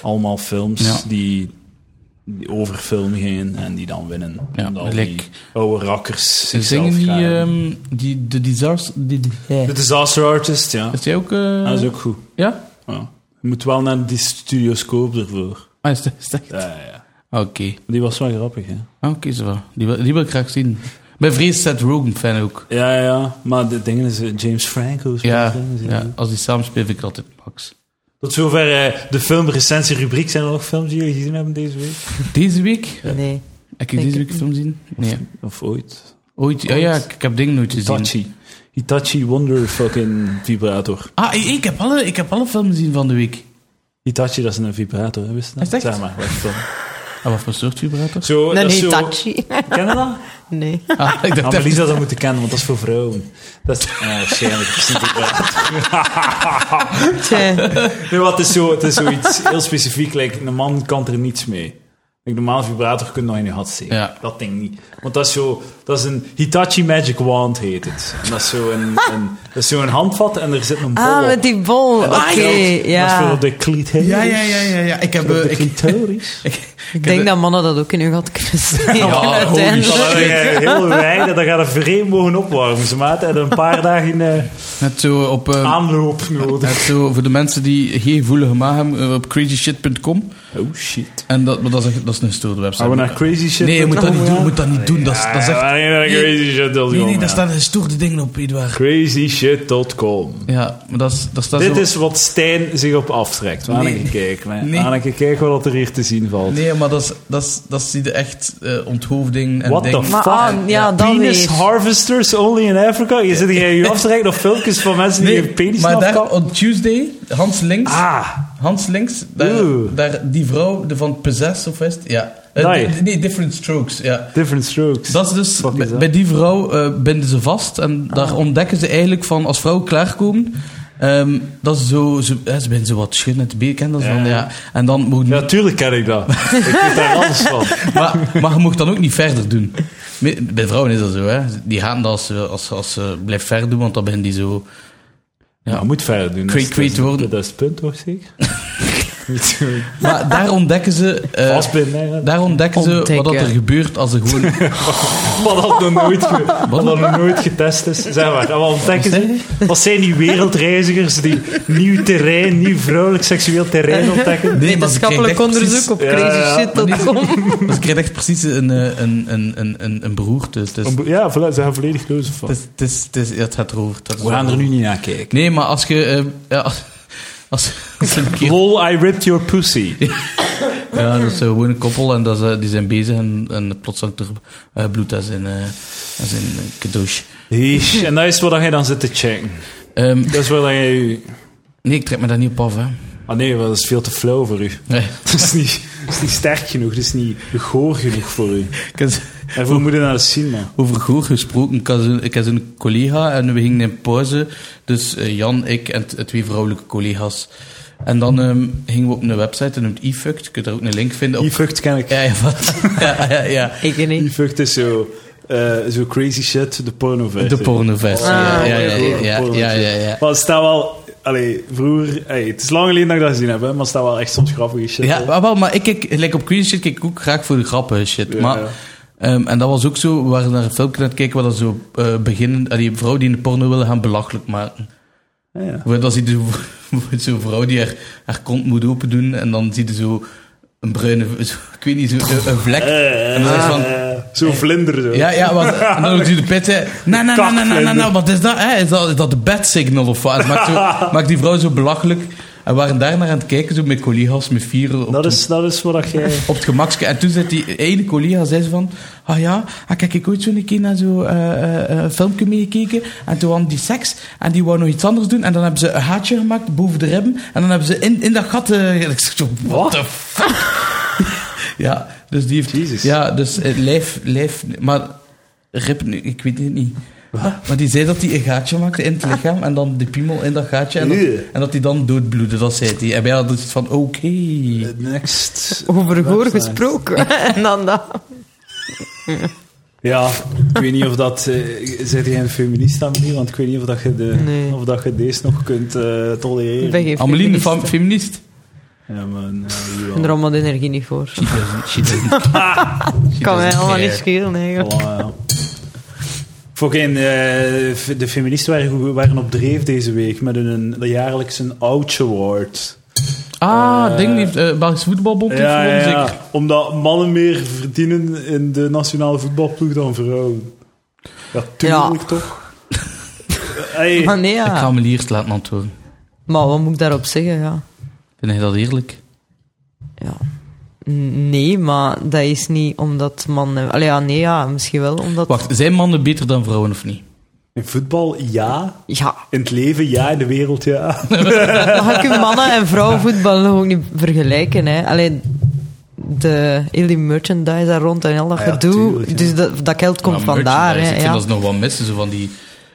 S1: Allemaal films
S2: Ja.
S1: die, die over film gingen en die dan winnen.
S2: Ja,
S1: Omdat al
S2: like-
S1: die oude rakkers
S2: Ze
S1: zichzelf
S2: zingen die,
S1: gaan-
S2: ehm, die, de disaster, die, die-
S1: De Disaster Artist, ja.
S2: Is die ook, eh,
S1: Dat is ook goed.
S2: ja?
S1: Ja. Je moet wel naar die studioscoop ervoor.
S2: Ah, is dat, is dat-
S1: Ja, ja, ja.
S2: Oké,
S1: Die was wel grappig, hè?
S2: Ah, oké, zo wel. Die, wil- die wil ik graag zien. Mijn vriend is Seth Rogen fan ook.
S1: Ja, ja, ja. Maar de dingen is eh, James Franco. speelt
S2: Ja,
S1: erin, zie je.
S2: ja, als die samen speelt, vind ik altijd Max.
S1: Tot zover eh, de filmrecensie-rubriek. Zijn er nog films die jullie gezien hebben deze week?
S2: Deze week?
S3: Nee.
S2: Heb ik
S3: Ik-
S2: deze week een film zien? Nee.
S1: Of ooit?
S2: Ooit? Ja, ja ik, ik heb dingen nooit gezien.
S1: Hitachi. Hitachi Wonder fucking vibrator.
S2: Ah, ik, ik heb alle, ik heb alle films gezien van de week.
S1: Hitachi, dat is een vibrator, hè, wist je dat?
S2: Is het echt?
S1: Zeg maar, wat film.
S2: En Ah, wat voor soort vibrator?
S1: Zo,
S3: Een
S1: Oh, dat is zo-
S3: Hitachi.
S1: Ken je dat?
S3: Nee.
S2: Ah, ik dacht
S1: Annelies
S2: even...
S1: had dat moeten kennen, want dat is voor vrouwen. Dat is... Ah, waarschijnlijk. Dat is niet waar.
S3: Tja.
S1: Nee, wat is zo, het is zoiets heel specifiek. Like, een man kan er niets mee. Like, normaal vibrator kun je nog in je had steken.
S2: Ja.
S1: Dat ding niet. Want dat is zo... Dat is een Hitachi Magic Wand, heet het. En dat is zo een, een, dat is zo een handvat en er zit een bol
S3: Ah,
S1: op.
S3: met die bol. Oké,
S1: Dat geldt. Dat is
S3: ja.
S1: voor de clitoris.
S2: Ja, ja, ja, ja, ja. Ik heb...
S1: Voor
S2: eh,
S1: de
S2: Ik, ik,
S1: clitoris.
S3: Ik denk dat mannen dat ook in hun gat kunnen steken.
S2: Ja, holy
S1: Dan
S3: uiteindelijk.
S1: heb je heel weinig, dan gaat het vreemd mogen opwarmen. Ze maat en een paar dagen eh,
S2: Net zo op...
S1: Ah,
S2: eh,
S1: aanloop nodig.
S2: net zo voor de mensen die geen voelige maag hebben, eh, op crazyshit.com.
S1: Oh shit.
S2: En dat, maar dat, is, een- dat is een stoere website.
S1: Gaan we naar crazy shit?
S2: Nee, je moet dat niet doen. je moet dat niet doen. Dat is, dat is echt... Nee,
S1: Nee,
S2: nee, daar staan stoere dingen op, Edouard.
S1: Crazyshit.com.
S2: Ja, maar dat is... Dat staat
S1: Dit
S2: zo-
S1: is wat Stijn zich op aftrekt. We gaan
S2: Nee.
S1: een keer kijken. hè. We
S2: Nee.
S1: gaan een keer kijken wat er hier te zien valt.
S2: Nee, maar dat is, dat is, dat is die echt eh onthoofding en
S1: What the
S2: dingen.
S1: fuck?
S3: Maar ah, ja, dat
S1: Penis
S3: weer.
S1: harvesters only in Africa? Je zit hier je af te reiken op filmpjes van mensen die hun penis
S2: maar daar,
S1: afkappen?
S2: op Tuesday, Hans Links,
S1: Ah,
S2: Hans Links, daar,
S1: Oeh.
S2: daar die vrouw de van Possess of is het? ja. Eh,
S1: Nee.
S2: di- Nee, Different Strokes, ja.
S1: different strokes.
S2: Dat is dus,
S1: Fuck is
S2: bij-
S1: dat? Ah.
S2: bij die vrouw eh, binden ze vast en daar ontdekken ze eigenlijk van, als vrouwen klaarkomen, ehm, dat ze zo, ze, eh, ze binden zo wat schudden uit de beek en dat is
S1: Ja.
S2: van, ja. En dan mogen
S1: Ja, tuurlijk ken ik dat. ik weet daar alles van.
S2: maar, maar je mocht dan ook niet verder doen. Bij bij vrouwen is dat zo, hè. Die gaan dat als ze, als, ze- als ze blijft verder doen, want dan ben die zo...
S1: Ja, je moet verder doen. Dat
S2: Kweet,
S1: is-
S2: kweet
S1: dat is-
S2: worden. Eh.
S1: Dat is het punt, toch zeker?
S2: Maar daar ontdekken ze... eh,
S1: Vastbinden, hè, ja.
S2: daar ontdekken ze wat dat er
S3: Ontdekken.
S2: gebeurt als ze gewoon...
S1: Wat dat nog nooit, ge- wat dat nog nooit getest is. Zeg maar, en wat ontdekken
S2: Wat
S1: ze? Wat zijn die wereldreizigers die nieuw terrein, nieuw vrouwelijk seksueel terrein ontdekken?
S2: Nee, maar ze krijgen
S3: Wetenschappelijk
S2: echt precies-
S3: onderzoek op
S1: Ja, ja.
S3: crazyshit.com.
S2: maar ze krijgen echt precies een, eh, een, een, een, een, een broer. Dus, dus,
S1: Om- Ja, voilà, ze gaan volledig lozen van.
S2: dus, dus, dus, ja, het gaat erover. dat is
S1: We gaan
S2: wel-
S1: er nu niet naar kijken.
S2: Nee, maar als je... eh, ja, als, als, als een keer...
S1: Lol, I ripped your pussy.
S2: Ja, dat is eh, gewoon een koppel en dat is, eh, die zijn bezig en, en plots hangt er eh, bloed als in, eh als in een cadeautje.
S1: Heesh. En dat is waar jij dan zit te checken.
S2: Ehm,
S1: Dat is waar dat jij...
S2: nee, ik trek me daar niet op af, hè.
S1: Ah nee, dat is veel te flauw voor u.
S2: Nee.
S1: Dat is niet, dat is niet sterk genoeg, dat is niet goor genoeg voor u.
S2: Ik heb z-
S1: Daarvoor moet je naar de cinema.
S2: over goor gesproken. Ik had zo'n- ik had zo'n collega en we gingen in pauze. Dus eh, Jan, ik en t- twee vrouwelijke collega's. En dan ehm, gingen we op een website en noemt e-fucked. Je kunt daar ook een link vinden. Op...
S1: E-fucked ken ik.
S2: Ja, ja, wat? ja, ja, ja.
S3: Ik niet.
S1: E-fucked is zo, eh, zo crazy shit, de porno
S2: De pornoversie. ja,
S3: Ah,
S2: ja, ja,
S3: oké.
S2: ja, ja, ja, ja, ja.
S1: Maar het staat wel... Allee, vroeger... Hey, het is lang geleden dat ik dat gezien heb, hè, maar het staat wel echt soms grappige shit.
S2: Ja,
S1: op.
S2: maar, wel, maar ik kijk, gelijk op Queen shit, kijk ik ook graag voor de grappen shit.
S1: Ja,
S2: maar,
S1: ja.
S2: ehm, en dat was ook zo, we waren naar een filmpje aan het kijken waar dat zo eh, beginnen, eh, die vrouw die in de porno willen gaan belachelijk maken.
S1: Ja, ja.
S2: Waar Dan zie je zo- zo'n vrouw die haar, haar kont moet open doen en dan zie je zo een bruine, zo- ik weet niet, zo, een, een vlek. en dan is van,
S1: Eh, Zo'n vlinder zo.
S2: ja, ja, want, en dan doet hij de pit, hè. Nou, nou, nou, nou, nou, nou, nou, wat is dat, hè? Is dat, is dat de bedsignal of wat? Het Maakt, zo, maakt die vrouw zo belachelijk. En we waren daarnaar aan het kijken, zo met collega's, met vieren. op
S1: Dat
S2: de
S1: is, dat is wat dat jij...
S2: op het gemakske. En toen zei die ene collega zei ze van... Ah ja, ah, kijk, ik ooit zo'n keer naar zo'n eh, filmpje meegekeken. En toen hadden die seks. En die wou nog iets anders doen. En dan hebben ze een gaatje gemaakt boven de ribben. En dan hebben ze in, in dat gat... eh, ik zeg zo, what the fuck? ja, dus die heeft...
S1: Jezus.
S2: Ja, dus eh, lijf... lijf maar rib, nu, ik weet het niet. Ah, Maar die zei dat hij een gaatje maakte in het lichaam en dan de piemel in dat gaatje en dat,
S1: Eeuw.
S2: en dat hij dan doodbloedde, dat zei hij. En wij hadden zoiets van, oké.
S1: Next.
S3: Over goor
S1: Website.
S3: gesproken. En dan dat.
S1: Ja, ik weet niet of dat... eh zit jij een feminist aan manier? Want ik weet niet of, dat je, de,
S3: Nee.
S1: of dat je deze nog kunt eh, tolereren.
S3: Ben je
S2: Amelie, de
S3: feminist?
S2: feminist.
S1: Ja, maar... nee,
S3: Ik
S1: jawel.
S3: heb er allemaal de energie niet voor.
S2: She doesn't, she doesn't. She
S3: Kan mij
S2: doesn't
S3: allemaal niet
S2: care.
S3: schelen, eigenlijk.
S1: Voilà, ja. Fucking, eh, f- de feministen waren, goed- waren op dreef deze week met hun de jaarlijkse Ouch Award.
S2: Ah,
S1: Eh,
S2: ding heeft eh Belgisch voetbalbond heeft
S1: Ja, ja,
S2: gewonnen,
S1: ja.
S2: zeker.
S1: omdat mannen meer verdienen in de nationale voetbalploeg dan vrouwen. Ja, tuurlijk toch? Hey,
S3: Maar Ah, nee,
S2: Ik ga
S3: ja.
S2: hem eerst laten antwoorden.
S3: Maar wat moet ik daarop zeggen, ja?
S2: Vind je dat eerlijk?
S3: ja. N- Nee, maar dat is niet omdat mannen... Allee, ja, nee, ja, misschien wel omdat...
S2: Wacht, zijn mannen beter dan vrouwen of niet?
S1: in voetbal ja,
S3: Ja,
S1: in het leven ja, in de wereld ja.
S3: maar je kunt mannen- en vrouwenvoetbal nog ook niet vergelijken, hè. Allee, de, heel die merchandise daar rond en al dat
S1: Ah ja,
S3: gedoe.
S1: tuurlijk, ja.
S3: Dus dat, dat geld komt
S2: Maar
S3: vandaar.
S2: merchandise, Ik
S3: Hè, ja.
S2: vind dat ze nog wel missen, zo van die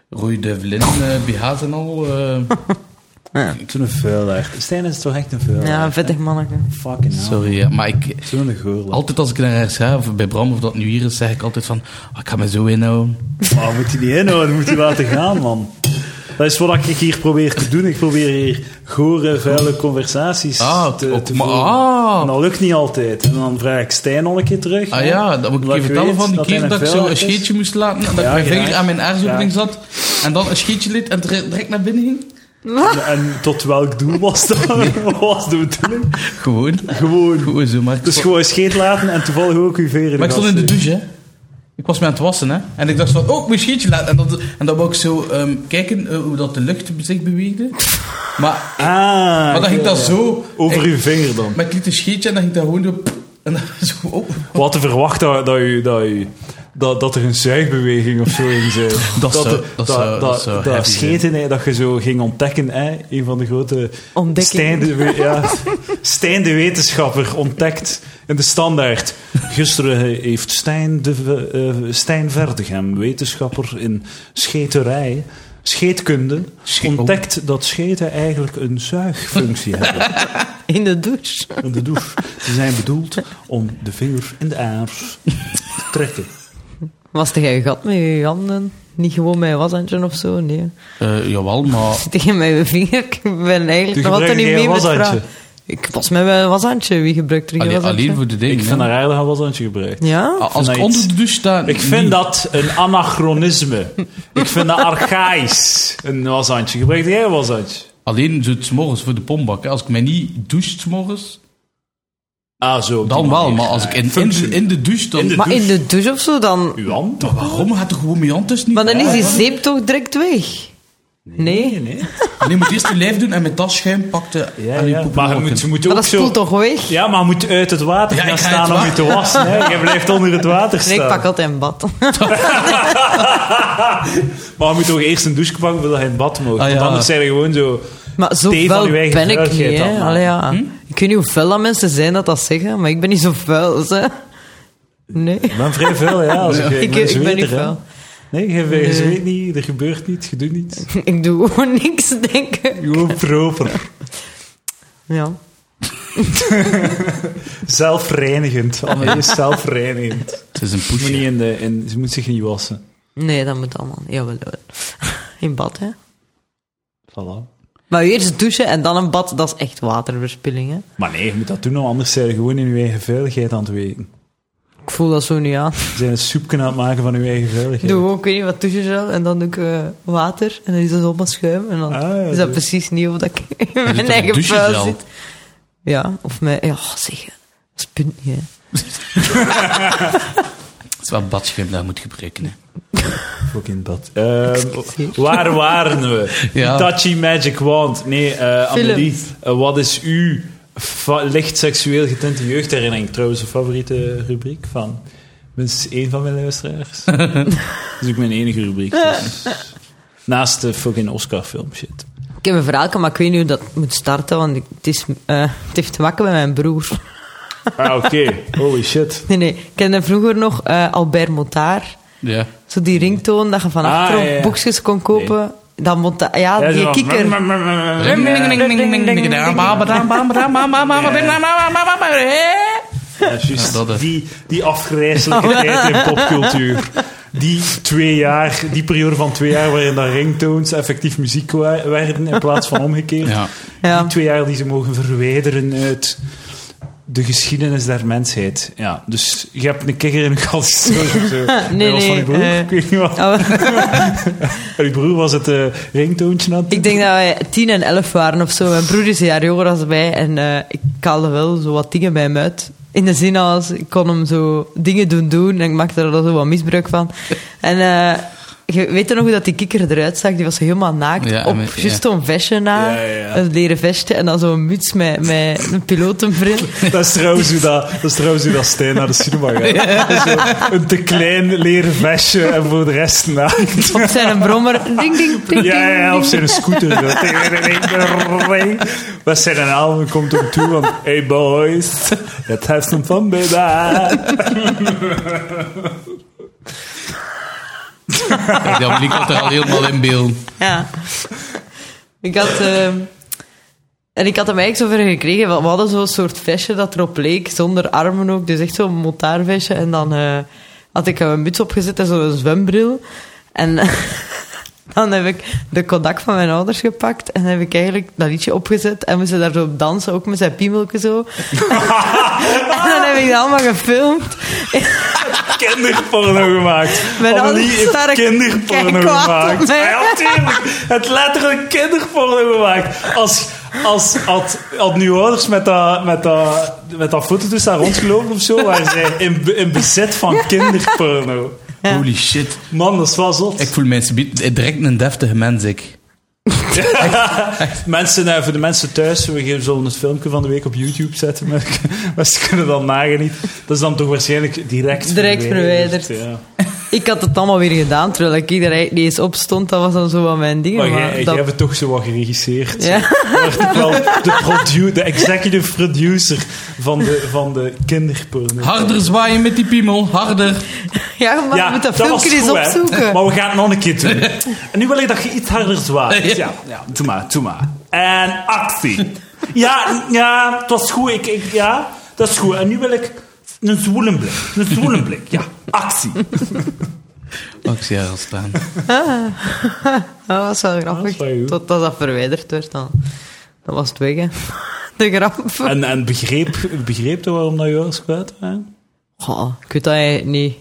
S2: rode vlin BH's en al. eh.
S1: Zo'n vuilaard. Stijn is toch echt een vuilaard?
S3: ja, een vettig manneke.
S1: Fucking hell.
S2: sorry, ja, maar ik,
S1: Zo'n geurlaar.
S2: altijd als ik naar haar ga, of bij Bram of dat nu hier is, zeg ik altijd van, "Ah, ik ga me zo inhouden.
S1: Maar moet je niet inhouden, moet je laten gaan, man. Dat is wat ik hier probeer te doen. Ik probeer hier gore, vuile conversaties
S2: Ah,
S1: te,
S2: op-
S1: te
S2: maar-
S1: voeren.
S2: ah.
S1: En dat lukt niet altijd. En dan vraag ik Stijn nog een keer terug.
S2: Ah
S1: hè,
S2: ja, dat moet ik
S1: omdat
S2: je vertellen
S1: weet
S2: van die
S1: hij
S2: keer dat ik zo
S1: vuilaard
S2: een
S1: is.
S2: scheetje moest laten, en
S1: Ja,
S2: dat ik mijn
S1: gedaan.
S2: vinger aan mijn aarsopening
S1: Ja.
S2: zat, en dan een scheetje liet en direct direct naar binnen ging.
S1: En tot welk doel was dat? Wat was de bedoeling?
S2: Gewoon.
S1: Gewoon.
S2: Gewoon zo, maar ik,
S1: Dus
S2: stond,
S1: gewoon scheet laten en toevallig ook uw veren.
S2: maar ik stond in de douche, hè. Ik was me aan het wassen, hè. En ik dacht van, oh, ik moet een scheetje laten. En, dat, en dan wou ik zo ehm, kijken eh, hoe dat de lucht zich beweegde. Maar,
S1: Ah,
S2: maar dan ging dat zo...
S1: Over
S2: ik,
S1: uw vinger dan.
S2: Maar ik liet een scheetje en dan ging dat gewoon zo... En dan zo op.
S1: Wat te verwachten dat, dat, u, dat, u, dat, dat er een zuigbeweging of zo in zit.
S2: Dat zou- dat zou- dat zou
S1: dat
S2: heavy
S1: scheten, hè, dat je zo ging ontdekken. Hè? Een van de grote... Stijn
S3: Ontdekkingen.
S1: de, we- ja, Stijn de wetenschapper ontdekt in de standaard. Gisteren heeft Stijn, de, v- eh, Stijn Verdegem, wetenschapper in scheterij... Scheetkunde
S2: Sche-
S1: ontdekt
S2: oh.
S1: dat scheten eigenlijk een zuigfunctie hebben
S3: In de douche.
S1: in de douche. Ze zijn bedoeld om de vinger in de aars te trekken.
S3: Was er geen gat met je handen? Niet gewoon met een washandje of zo? Nee.
S2: Eh, jawel, maar...
S3: Tegen mijn vinger. Ik ben
S1: Die
S3: eigenlijk nog altijd
S1: gebruiken
S3: niet
S1: geen
S3: mee met
S1: washandje.
S3: vragen. Ik was met mijn washandje. Wie gebruikt er geen
S2: Alleen,
S3: washandje?
S2: alleen voor de
S1: Ik
S2: dingen.
S1: vind
S2: hè.
S1: haar aardig al wat gebruikt.
S3: Ja?
S2: A- Als
S1: vind
S2: ik
S1: dat iets-
S2: onder de douche sta...
S1: Ik
S2: niet.
S1: vind dat een anachronisme. Ik vind dat archaïs. Een washandje. Gebruik jij een washandje?
S2: Alleen zo 's morgens voor de pombak. hè. Als ik mij niet douche 's morgens,
S1: Ah, zo. op die
S2: dan wel.
S1: manier.
S2: Maar als ik in, in,
S1: Functie.
S2: de, in de douche dan...
S1: In de-
S3: maar
S1: douche.
S3: in de douche of zo dan...
S1: Uw hand?
S2: Maar waarom gaat er gewoon mijn hand tussen?
S3: Maar dan is die
S2: hij
S3: zeep toch direct weg? Nee.
S1: nee.
S2: je moet eerst je lijf doen en met dat schuim pakte.
S1: Ja, ja. Maar je moet, je moet
S3: Maar
S1: ook
S3: dat
S1: zo...
S3: spoelt toch weg?
S1: Ja, maar je moet uit het water
S2: Ja,
S1: gaan
S2: ik ga
S1: staan
S2: uit
S1: om je
S2: het
S1: te wassen. Hè? Je blijft onder het water staan.
S3: Nee, ik pak altijd een bad.
S1: Maar je moet toch eerst een douche pakken voordat je in het bad mag.
S2: Ah, ja.
S1: Want anders zijn er gewoon zo...
S3: Maar zo
S1: Thee van
S3: vuil
S1: uw eigen Hm?
S3: ben ik
S1: vuilheid
S3: niet,
S1: dan,
S3: hè.
S1: maar.
S3: Allee, ja. Ik weet niet hoe vuil dat mensen zijn dat dat zeggen, maar ik ben niet zo vuil, hè. Nee.
S1: Ik ben vrij veel, ja. Als ik, eh,
S3: Ik-
S1: ik ben
S3: ik ben
S1: zweter,
S3: niet
S1: hè.
S3: vuil.
S1: Nee, je, je zweet niet, er gebeurt niets, je doet niets.
S3: Ik doe gewoon niks, denk ik.
S1: Gewoon proper.
S3: Ja.
S1: Zelfreinigend. Anne is zelfreinigend.
S2: Het is een
S1: Ze moet, niet
S2: poesje.
S1: in de, in, ze moet zich niet wassen.
S3: Nee, dat moet allemaal. Jawel, jawel. In bad, hè.
S1: Voilà.
S3: Maar eerst douchen en dan een bad, dat is echt waterverspilling, hè.
S1: Maar nee, je moet dat doen, want anders zijn je gewoon in je eigen veiligheid aan het weten.
S3: Ik voel dat zo niet aan.
S1: Ze zijn een soepje aan het maken van je eigen
S3: Ik
S1: veiligheid.
S3: doe gewoon, ik weet niet wat douchegel en dan doe ik eh, water en dan is dat allemaal schuim en dan
S1: Ah, ja,
S3: is dat
S1: doe.
S3: precies niet hoe dat ik in mijn
S2: toch een
S3: eigen vuil
S2: douchegel?
S3: zit. Ja, of mijn... Ja, zeg, hè. dat is punt niet, hè.
S2: Het is wel badschuim dat je moet gebruiken. Hè.
S1: Ook in dat. Ehm,
S3: Excuseer.
S1: waar waren we?
S2: Ja.
S1: Touchy Magic Wand. Nee, eh,
S3: Films.
S1: Amelie, eh, wat is uw fa- licht seksueel getinte jeugdherinnering? Trouwens, een favoriete rubriek van minstens één van mijn luisteraars. dat is ook mijn enige rubriek. dus. Naast de fucking Oscar-film shit.
S3: Ik heb een verhaal, maar ik weet niet hoe dat moet starten, want ik- het, is, eh, het heeft te maken met mijn broer.
S1: Ah, oké. Holy shit.
S3: Nee, nee. Ik kende vroeger nog eh, Albert Montard.
S2: Ja.
S3: Zo die ringtoon dat je van
S1: Ah,
S3: achter
S1: ja, ja.
S3: boekjes kon kopen. Dat Monta ja,
S1: Ja,
S3: die
S1: zo.
S3: kikker.
S1: Ja, juist.
S2: Ja, dat, hè.
S1: die, die afgrijzelijke tijd in popcultuur. Die twee jaar, die periode van twee jaar waarin dat ringtones effectief muziek wa- werden in plaats van omgekeerd.
S2: Ja.
S3: Ja.
S1: Die twee jaar die ze mogen verwijderen uit de geschiedenis der mensheid. Ja, dus je hebt een kikker in een kast. Zo, zo.
S3: Nee,
S1: Dat was van
S3: nee,
S1: je broer.
S3: eh.
S1: ik weet niet wat.
S3: Oh,
S1: Van je broer was het eh ringtoontje aan het
S3: ik denk dat wij tien en elf waren of zo. Mijn broer is een jaar jonger dan mij. En eh, ik haalde wel zo wat dingen bij hem uit. In de zin als, ik kon hem zo dingen doen doen. En ik maakte er dan zo wat misbruik van. En eh, Je weet je nog hoe dat die kikker eruit zag? Die was helemaal naakt,
S2: Ja,
S3: op
S2: met- ja.
S3: juist zo'n vestje na,
S1: Ja, ja, ja.
S3: een leren vestje en dan zo'n muts met, met een pilotenbril.
S1: Dat is trouwens hoe dat, dat, is trouwens hoe dat Stijn naar de cinema gaat. Zo een te klein leren vestje en voor de rest naakt.
S3: Op zijn brommer, ding, ding, ding, ding.
S1: Ja, ja, ja, op
S3: ding.
S1: zijn scooter. zo. Dat zijn een album komt op toe van... Hey boys, let's have some fun, baby.
S2: Kijk, dat blik er al helemaal in beeld.
S3: Ja. Ik had... eh, en ik had hem eigenlijk zover gekregen. We we hadden zo'n soort vestje dat erop leek, zonder armen ook. Dus echt zo'n motaarvestje. En dan eh, had ik een muts opgezet en zo'n zwembril. En dan heb ik de Kodak van mijn ouders gepakt. En heb ik eigenlijk dat liedje opgezet. En moesten daar zo op dansen, ook met zijn piemelke zo. en dan heb ik dat allemaal gefilmd.
S1: kinderporno gemaakt.
S3: Mijn
S1: Annelie
S3: ouders
S1: heeft
S3: waren
S1: kinderporno
S3: keikwaad op
S1: gemaakt.
S3: mij.
S1: Ja, tuurlijk. Het letterlijk kinderporno gemaakt. Als, als had, had nu ouders met dat, met dat, met dat foto tussen haar rondgelopen of zo, waren zij in, be- in bezit van kinderporno.
S2: Holy shit.
S1: Man, dat is wel zot.
S2: Ik voel mensen direct een deftige mens, ik.
S1: Mensen, eh, voor de mensen thuis, we geven- zullen het filmpje van de week op YouTube zetten. Maar, maar ze kunnen dan nagenieten. Dat is dan toch waarschijnlijk direct,
S3: Direct verwijderd.
S1: Ja.
S3: Ik had het allemaal weer gedaan, terwijl ik iedereen niet eens opstond. Dat was dan zo wat mijn ding.
S1: Maar
S3: maar
S1: jij, jij
S3: dat-
S1: hebt het toch zo wat geregisseerd.
S3: Ja.
S1: Wordt toch wel de, produ- de executive producer van de, van de kinderporno.
S2: Harder zwaaien met die piemel, harder.
S3: Ja, maar je moet dat,
S1: was
S3: filmpje eens
S1: goed, hè.
S3: opzoeken.
S1: Maar we gaan het nog een keer doen. En nu wil ik dat je iets harder zwaait. Ja, ja. Doe maar, doe maar. En actie. Ja, ja, het was goed. Ik, ik, ja, dat is goed. En nu wil ik een zwoelen blik. Een zwoelen blik, ja. Actie.
S2: Oh, ik zie haar al staan.
S3: Dat was wel grappig.
S1: is wel goed.
S3: Totdat dat verwijderd werd dan. Dat was het weg, hè. De grap.
S1: En, en begreep, begreep je waarom dat jou kwijt waren?
S3: Goh, ik weet dat eigenlijk niet.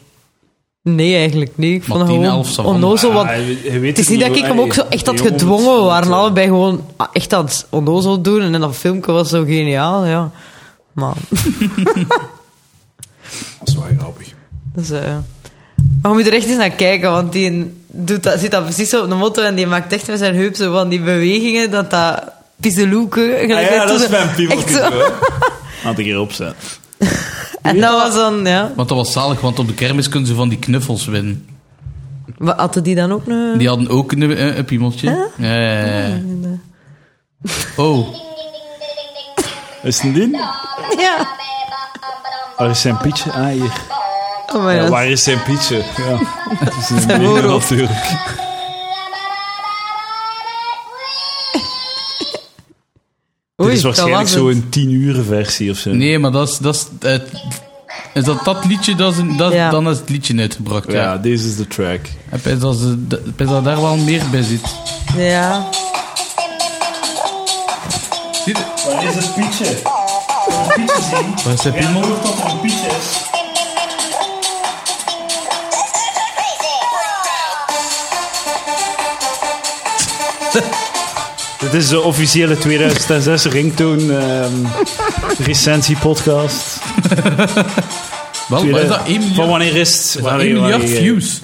S3: Nee, eigenlijk niet. Ik vond het
S2: Maar tien,
S3: gewoon
S2: elf zal
S3: onnozel. Want
S1: Ja, Ah, je- je weet
S3: het is niet dat ik hem
S1: hoor.
S3: ook zo echt had
S1: Die jongen
S3: gedwongen.
S1: moet-
S3: We waren allebei gewoon ah, echt aan het onnozel doen. En dat filmpje was zo geniaal, ja. Maar,
S1: Dat is wel grappig.
S3: dus, eh, maar je moet er echt eens naar kijken, want die doet dat, zit dat precies zo op de motto. En die maakt echt met zijn heup zo van die bewegingen dat dat... Pizzeloeken.
S1: Ah
S3: gelijk
S1: ja, dat is
S3: zo-
S1: mijn
S3: echt zo.
S1: piemelkind. Laat ik erop zetten.
S3: En dat was dan, ja.
S2: Want dat was zalig, want op de kermis kunnen ze van die knuffels winnen.
S3: Wat, hadden die dan ook een...
S2: Die hadden ook een, eh, een, een piemeltje. Ja, ja, ja, ja. Oh,
S1: Is het een ding?
S3: Ja.
S1: Waar is zijn pietje? Ah, hier.
S3: Oh my
S1: Ja,
S3: god.
S1: waar is zijn pietje? Ja. Het is een
S3: Zijn
S1: ding
S3: oorlog.
S1: natuurlijk.
S3: Oei,
S1: Dit is
S3: dat
S1: waarschijnlijk
S3: was het.
S1: zo'n 10 uur versie of zo.
S2: nee, maar dat is... Dat is, het- is dat dat liedje? Dat is een- dat,
S3: Ja.
S2: Dan is het liedje uitgebracht, ja.
S1: Ja, deze is de track.
S2: Ik denk dat, ze- dat- ik denk dat daar wel meer bij zit.
S3: Ja.
S2: Zie je?
S1: Waar is het pietje? Pietje zien.
S2: Waar is de piemel?
S1: dat er een pietje Dit is de officiële 2006 ringtone ehm recensie podcast.
S2: Wel, waar Oh, is dat? 1 miljoen,
S1: Van wanneer is het?
S2: is dat 1
S1: Wanneer-
S2: miljard
S1: wanneer-
S2: views.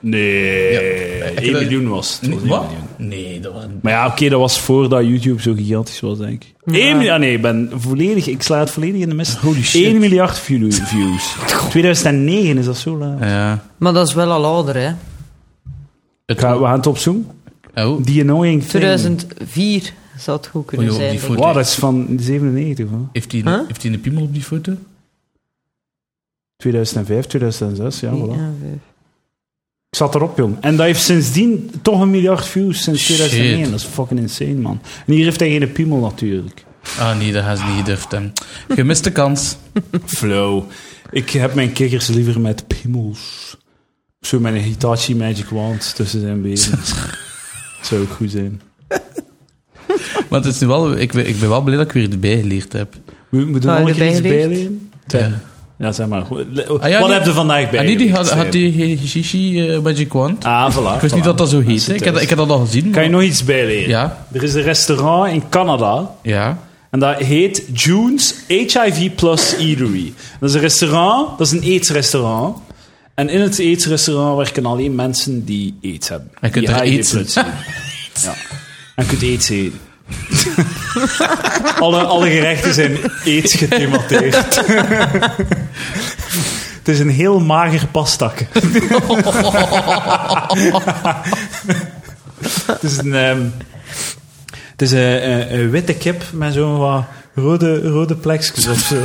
S1: Nee,
S2: ik
S1: 1
S2: dat-
S1: miljoen was het. Het was
S2: Nee,
S1: één
S2: wat? Ah,
S1: miljoen.
S2: Nee, dat waren...
S1: Maar ja, oké, dat was voordat YouTube zo gigantisch was, denk ik. 1 miljoen, ah nee, ik, ben volledig, ik sla het volledig in de mist.
S2: Holy shit.
S1: 1 miljard view- views. 2009 is dat zo laat.
S2: Ja.
S3: Maar dat is wel al ouder, hè.
S2: Het,
S1: Ik ga- we gaan het opzoeken.
S2: oh,
S1: Die annoying thing.
S3: 2004 zou het goed
S1: Oh,
S3: kunnen
S2: Oei, op
S3: zijn.
S2: die
S3: denk ik.
S2: foto.
S1: Wow, dat is van 97, hoor.
S2: heeft hij
S3: Huh?
S2: heeft hij een piemel op die foto?
S1: 2005, 2006, ja, voilà.
S3: Ja, vijf.
S1: Ik zat erop, jong. En dat heeft sindsdien toch een miljard views sinds
S2: Shit.
S1: 2009. Dat is fucking insane, man. En hier heeft hij geen piemel, natuurlijk.
S2: Ah nee, dat gaan ze niet gedurfd hebben. Gemiste kans.
S1: Flow. Ik heb mijn kikkers liever met piemels. Zo met een Hitachi Magic Wand tussen zijn benen. Zou ook goed zijn.
S2: Want het is nu wel, ik, ben- ik ben wel blij dat ik weer erbij geleerd heb.
S1: Moet moet er
S2: Ah,
S3: Zou
S1: nog
S3: je
S1: een keer iets
S3: erbij geleerd?
S1: bijleren? Ja. ja, zeg maar. Wat
S2: Ah, nee.
S1: heb je vandaag bij?
S2: En die had, had die he- Shishi eh, Magic Wand.
S1: Ah, voilà.
S2: ik wist niet dat dat zo heette. Ik heb, dat- ik heb dat al gezien.
S1: Kan je
S2: maar-
S1: nog iets bijleren?
S2: Ja.
S1: Er is een restaurant in Canada.
S2: Ja.
S1: En dat heet June's HIV Plus Eatery. Dat is een restaurant, dat is een eetsrestaurant. En in het aidsrestaurant werken alleen mensen die aids hebben.
S2: En kunt
S1: Die
S2: er
S1: HIV
S2: aids in.
S1: plus zijn. ja. En kunt aids eten. alle, alle gerechten zijn aids gethemateerd. het is een heel mager pastak. het is een... ehm, het is een, een- een witte kip met zo'n wat rode, rode plekjes of zo.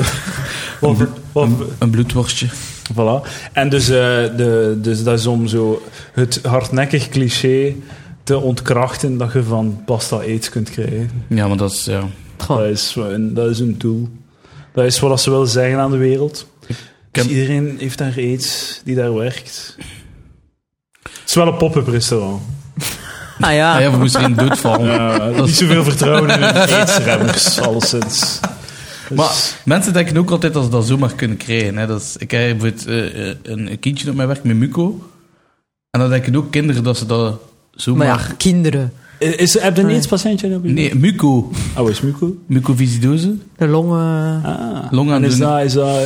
S1: Of, of,
S2: Een bloedworstje.
S1: Mm-hmm. Voilà. En dus, eh, de, dus dat is om zo het hardnekkig cliché te ontkrachten dat je van pasta aids kunt krijgen.
S2: Ja, maar dat is...
S1: Ah.
S2: Ja.
S3: Oh.
S1: Dat is, een, dat is een doel. Dat is wat ze willen zeggen aan de wereld. Dus
S2: heb-
S1: iedereen heeft daar aids die daar werkt. Het is wel een pop-up restaurant.
S3: Ah ja.
S2: Ah ja, we moesten in doodval.
S1: Ja,
S2: is-
S1: Niet zoveel vertrouwen in hun aidsremmers, alleszins. Dus-
S2: Maar mensen denken ook altijd dat ze dat zomaar kunnen krijgen. Hè. Dat is, ik heb bijvoorbeeld eh, eh, een, een kindje op mijn werk met Muco. En dan denken ook kinderen dat ze dat zomaar...
S3: maar ja, kinderen.
S1: Is, heb je een aids-patiëntje?
S2: Nee, Muco.
S1: Oh, is Muko?
S2: Mucoviscidose.
S3: De longen.
S1: Ah.
S2: Long aan
S1: En is
S2: doen.
S1: dat... Is dat eh,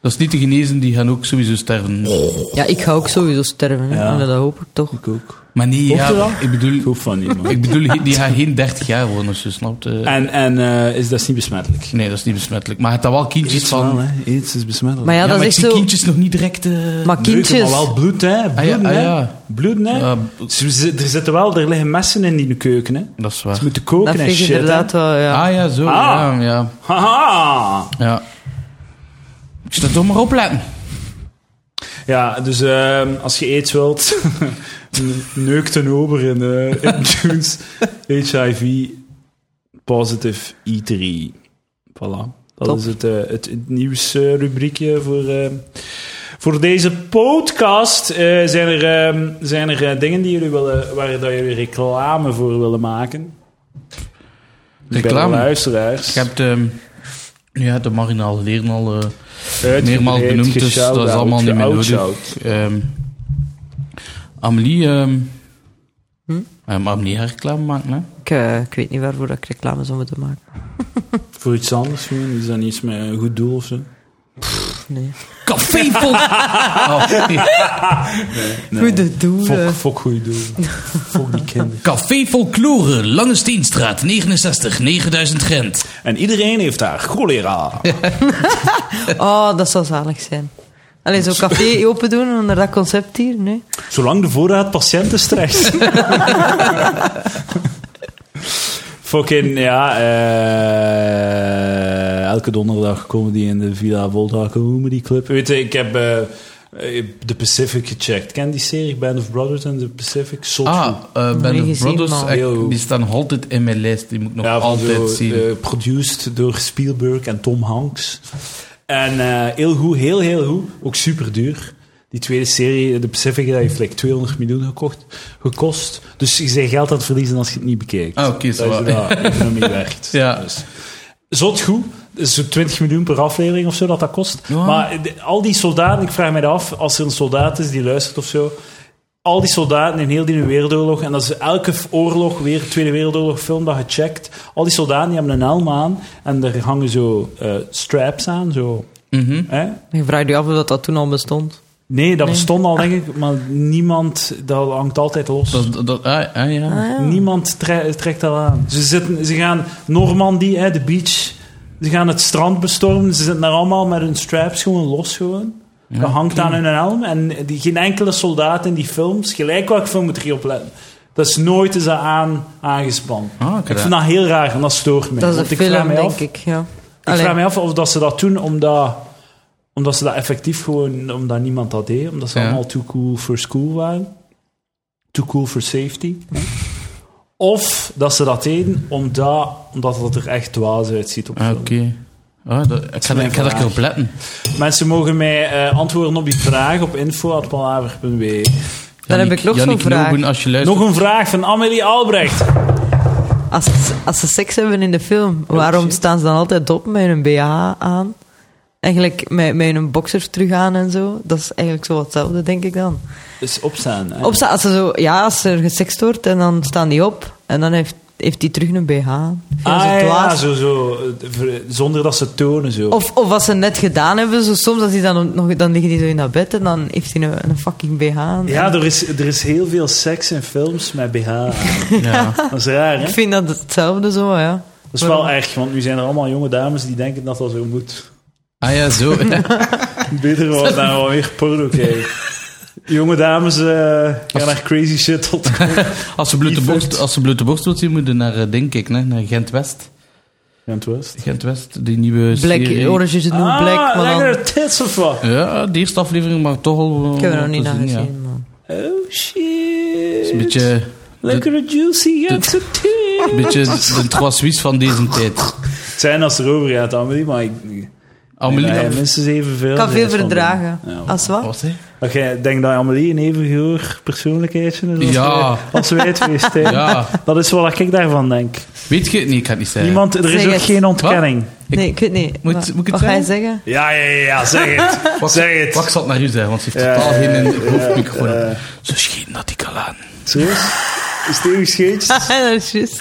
S2: Dat is niet te genezen, die gaan ook sowieso sterven.
S1: Oh.
S3: Ja, ik ga ook sowieso sterven. hè.
S1: Ja.
S3: En dat hoop ik toch.
S1: ik ook.
S2: Maar nee,
S1: Hoort er
S2: ja,
S1: dat?
S2: ik
S1: Ik
S2: bedoel,
S1: hoef van niet, man.
S2: ik bedoel, die gaan geen 30 jaar worden, als je snapt. eh.
S3: Ah.
S1: En, en eh, is, dat is niet besmettelijk.
S2: Nee, dat is niet besmettelijk. Maar het had wel kindjes van...
S1: wel, hè. Aids is besmettelijk.
S3: Maar ja,
S2: Ja,
S3: dat
S2: maar ik
S3: is
S2: zie
S3: echt zo...
S2: kindjes nog niet direct... eh,
S3: Maar
S1: Neuken,
S3: kindjes...
S1: maar wel bloed, hè. Bloed,
S2: Ah ja, ah
S1: hè.
S2: ja.
S1: Bloed, hè.
S2: Ja,
S1: Ze- ze- er zitten wel... Er liggen messen in die keuken, hè.
S2: Dat is waar.
S1: Ze moeten
S3: Dat
S1: koken en
S3: vind ik
S1: shit,
S3: inderdaad wel, ja.
S2: Ah ja, zo.
S1: Ah.
S2: Ja, ja,
S1: hè. Haha!
S2: ja. Ik sta toch maar opletten.
S1: Ja, dus ehm, als je aids wilt, neukt een ober in, eh in Junes. HIV positive E3. Voilà. Dat
S3: Top.
S1: is het, eh, het, het nieuwsrubriekje voor, ehm, voor deze podcast. Eh, zijn er, ehm, zijn er eh, dingen die jullie willen, waar dat jullie reclame voor willen maken?
S2: Reclame?
S1: Bij de luisteraars.
S2: Ik heb de, ja, de marginaal leren al... eh,
S1: Uitgebreid
S2: meermaals benoemd, dus dat is
S1: geshout-out,
S2: allemaal niet meer nodig.
S1: geoutshout.
S2: ehm, Amelie... ehm
S3: Hm?
S2: eh, maar Amelie haar reclame maken, hè?
S3: Ik, eh, ik weet niet waarvoor dat ik reclame zou moeten maken.
S1: Voor iets anders gewoon? Is dat iets met een goed doel of zo?
S3: Nee.
S2: Café vol... Oh,
S3: Goede doelen.
S1: Fok, fok goede doel. fok die kinderen.
S2: Café Folklore, Lange Steenstraat, 69, 9000 Gent.
S1: En iedereen heeft daar cholera.
S3: Oh, dat zou zalig zijn. Alleen zo'n café open doen onder dat concept hier, nee.
S1: Zolang de voorraad patiënten strekt. Fucking, ja. eh, elke donderdag comedy in de Villa Volta Comedy Club. Weet je, ik heb eh, eh, The Pacific gecheckt. Ken die serie? Band of Brothers and The Pacific? Zot
S2: Ah,
S1: goed.
S2: eh
S3: Nog
S2: Ben
S3: niet
S2: de
S3: gezien,
S2: Brothers,
S3: maar-
S2: ik-
S1: Yo.
S2: die staan altijd in mijn lijst. Die moet ik nog
S1: Ja, van
S2: altijd
S1: zo,
S2: zien.
S1: eh, produced door Spielberg en Tom Hanks. En eh, heel goed, heel, heel goed. Ook super duur. Die tweede serie, de Pacific, dat heeft like 200 miljoen gekocht, gekost. Dus je bent geld aan het verliezen als je het niet bekijkt.
S2: Ah, oké,
S1: dat
S2: zo
S1: is
S2: wel.
S1: hoe dat economie werkt.
S2: Ja.
S1: Dus, zot goed. Dus zo'n 20 miljoen per aflevering of zo dat dat kost.
S2: Ja.
S1: Maar de- al die soldaten, ik vraag me af, als er een soldaat is die luistert of zo, al die soldaten in heel die wereldoorlog, en dat is elke f- oorlog, weer Tweede Wereldoorlog film dat gecheckt, al die soldaten die hebben een helm aan en er hangen zo eh, straps aan, zo.
S2: Mhm.
S1: Hè?
S3: Je vraagt je af of dat, dat toen al bestond.
S1: Nee, dat
S3: Nee.
S1: bestond al, denk ik, maar niemand, dat hangt altijd los.
S2: Dat, dat, ah, ah, ja.
S1: Niemand tre- trekt dat aan. Ze, zitten, ze gaan Normandie, hè, de beach. Ze gaan het strand bestormen. Ze zitten daar allemaal met hun straps gewoon los. Gewoon.
S2: Ja,
S1: dat hangt
S2: oké.
S1: aan hun helm. En die, geen enkele soldaat in die films, gelijk welke film moet er hier op letten. Dat is nooit is dat aan, aangespannen.
S2: Ah, oké.
S1: Ik vind dat heel raar en dat stoort me.
S3: Dat is
S1: Want
S3: een
S1: ik vraag
S3: film,
S1: mij
S3: denk
S1: af,
S3: ik, ja.
S1: ik
S3: Allee.
S1: vraag me af of dat ze dat doen omdat, omdat ze dat effectief gewoon, omdat niemand dat deed. Omdat ze
S2: Ja.
S1: allemaal too cool for school waren. Too cool for safety. hè. Of dat ze dat deden omdat, omdat het er echt dwaas uitziet op
S2: Ah,
S1: film.
S2: Oké. Ah, dat- ik ga,
S1: mijn
S2: ik ga er een keer
S1: vraag.
S2: op letten.
S1: Mensen mogen mij eh, antwoorden op die vraag op info.palaver.be.
S3: Dan heb
S2: Jannik-
S3: ik nog zo'n
S2: Jannik
S3: vraag.
S2: Noben, als je
S1: e. Nog
S2: luistert.
S1: een vraag van Amelie Albrecht.
S3: Als, ze- als ze seks hebben in de film, waarom
S1: shit.
S3: staan ze dan altijd op met hun BH aan? Eigenlijk met, met hun boxers terug aan en zo. Dat is eigenlijk zo wat hetzelfde, denk ik dan.
S1: Dus opstaan. hè.
S3: Opstaan, als ze zo, ja, als er gesext wordt en dan staan die op. En dan heeft heeft hij terug een BH. aan. Ja,
S1: ah,
S3: zo
S1: ja,
S3: dwaas.
S1: ja, zo, zo, eh, ver- zonder dat ze tonen. Zo.
S3: Of, of wat ze net gedaan hebben, zo soms als hij dan, nog, dan liggen die zo in dat bed en dan heeft hij een, een fucking BH. aan.
S1: ja, er is, er is heel veel seks in films met BH. aan.
S2: Ja.
S1: Dat is raar, hè?
S3: Ik vind dat hetzelfde zo, maar ja.
S1: Dat is wel erg, want nu zijn er allemaal jonge dames die denken dat dat zo moet.
S2: Ah ja, zo. Ja.
S1: Beter wordt daar wel weer porno kijken. Jonge dames eh, gaan naar crazy shit tot.
S2: Als ze blote
S1: Die
S2: borst,
S1: vent.
S2: als ze blote borst wilt zien, moeten naar, eh, denk ik, hè, naar Gent-West. Gent-West, die nieuwe serie.
S3: Black, Orange is het nieuwe
S1: ah,
S3: Black, maar dan...
S1: lekker tits of wat?
S2: Ja, de eerste aflevering, maar toch al... eh,
S3: Ik heb er nog
S2: te
S3: niet naar
S2: zien, ja.
S3: gezien, man.
S1: Oh
S2: is
S1: shit.
S2: een beetje...
S1: Lekkere juicy Gentse
S2: Een
S1: tits.
S2: beetje de trois suisses van deze tijd.
S1: Het zijn als het erover gaat, Amelie, maar ik... ik-
S2: Amelie...
S1: dat jij
S2: dat-
S1: minstens evenveel...
S3: Ik kan
S1: bent
S3: veel
S1: van
S3: verdragen.
S1: dingen. Ja, maar-
S3: Als wat?
S2: Wat, hè?
S1: Dat jij denkt dat Amelie een even groot persoonlijkheidje is als,
S2: Ja.
S1: wij, als wij twee zijn.
S2: Ja.
S1: Dat is wat ik daarvan denk.
S2: Weet je het? Nee, ik ga het niet zeggen.
S1: Niemand, er is
S3: Zeg
S1: ook
S3: het.
S1: geen ontkenning.
S2: Ik-
S3: Nee, ik weet niet.
S2: Moet-
S3: Wat-
S2: moet ik het
S3: Wat ga je zeggen?
S1: Ja, ja, ja, ja, zeg het.
S2: Wat,
S1: zeg het.
S2: wat ik zal het naar u zeggen, want ze heeft
S1: Ja,
S2: totaal
S1: ja,
S2: geen
S1: ja,
S2: eh, hoofdmicrofoon.
S1: ja.
S2: Ze schiet dat ik al aan.
S1: Serieus? Is het even scheetjes?
S3: dat is juist.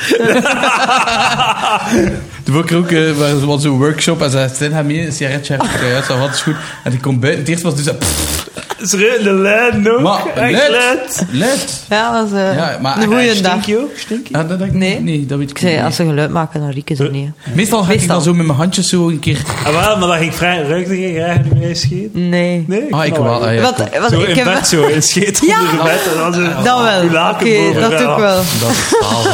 S2: Toen was ik er ook eh, waar ze- was zo'n workshop en ze zei, ga mee, een sigaretje, ja, zo, wat is goed. En ik kom buiten, het eerste was dus... eh, pff,
S1: Serieus, de lijn nog?
S2: Maar,
S1: Echt lijn?
S2: let, let.
S3: Ja, dat was eh,
S2: Ja, maar-
S3: een goede dag.
S1: Stink je ook? Stink je?
S2: Ah, dat, dat, nee.
S3: Nee.
S2: nee, dat weet ik,
S3: Ik zei,
S2: niet.
S3: als ze geluid maken, dan rieken ze niet. hè.
S2: Meestal ga ik
S3: Meestal.
S2: dan zo met mijn handjes zo een keer...
S1: Ah, wel, maar dat ging vrij... Ruikte je graag in mijn scheet?
S3: Nee.
S1: Nee?
S2: Ah, ik wel. ah, ja.
S3: Wat, wat
S1: Zo
S3: ik
S1: in
S3: heb...
S1: bed, zo. In scheet
S3: Ja.
S1: onder de bed. En dan zo...
S3: Dat wel.
S1: uw
S3: Oké,
S1: laken boven
S3: dat
S1: elkaar.
S3: ook wel.
S2: Dat is taal.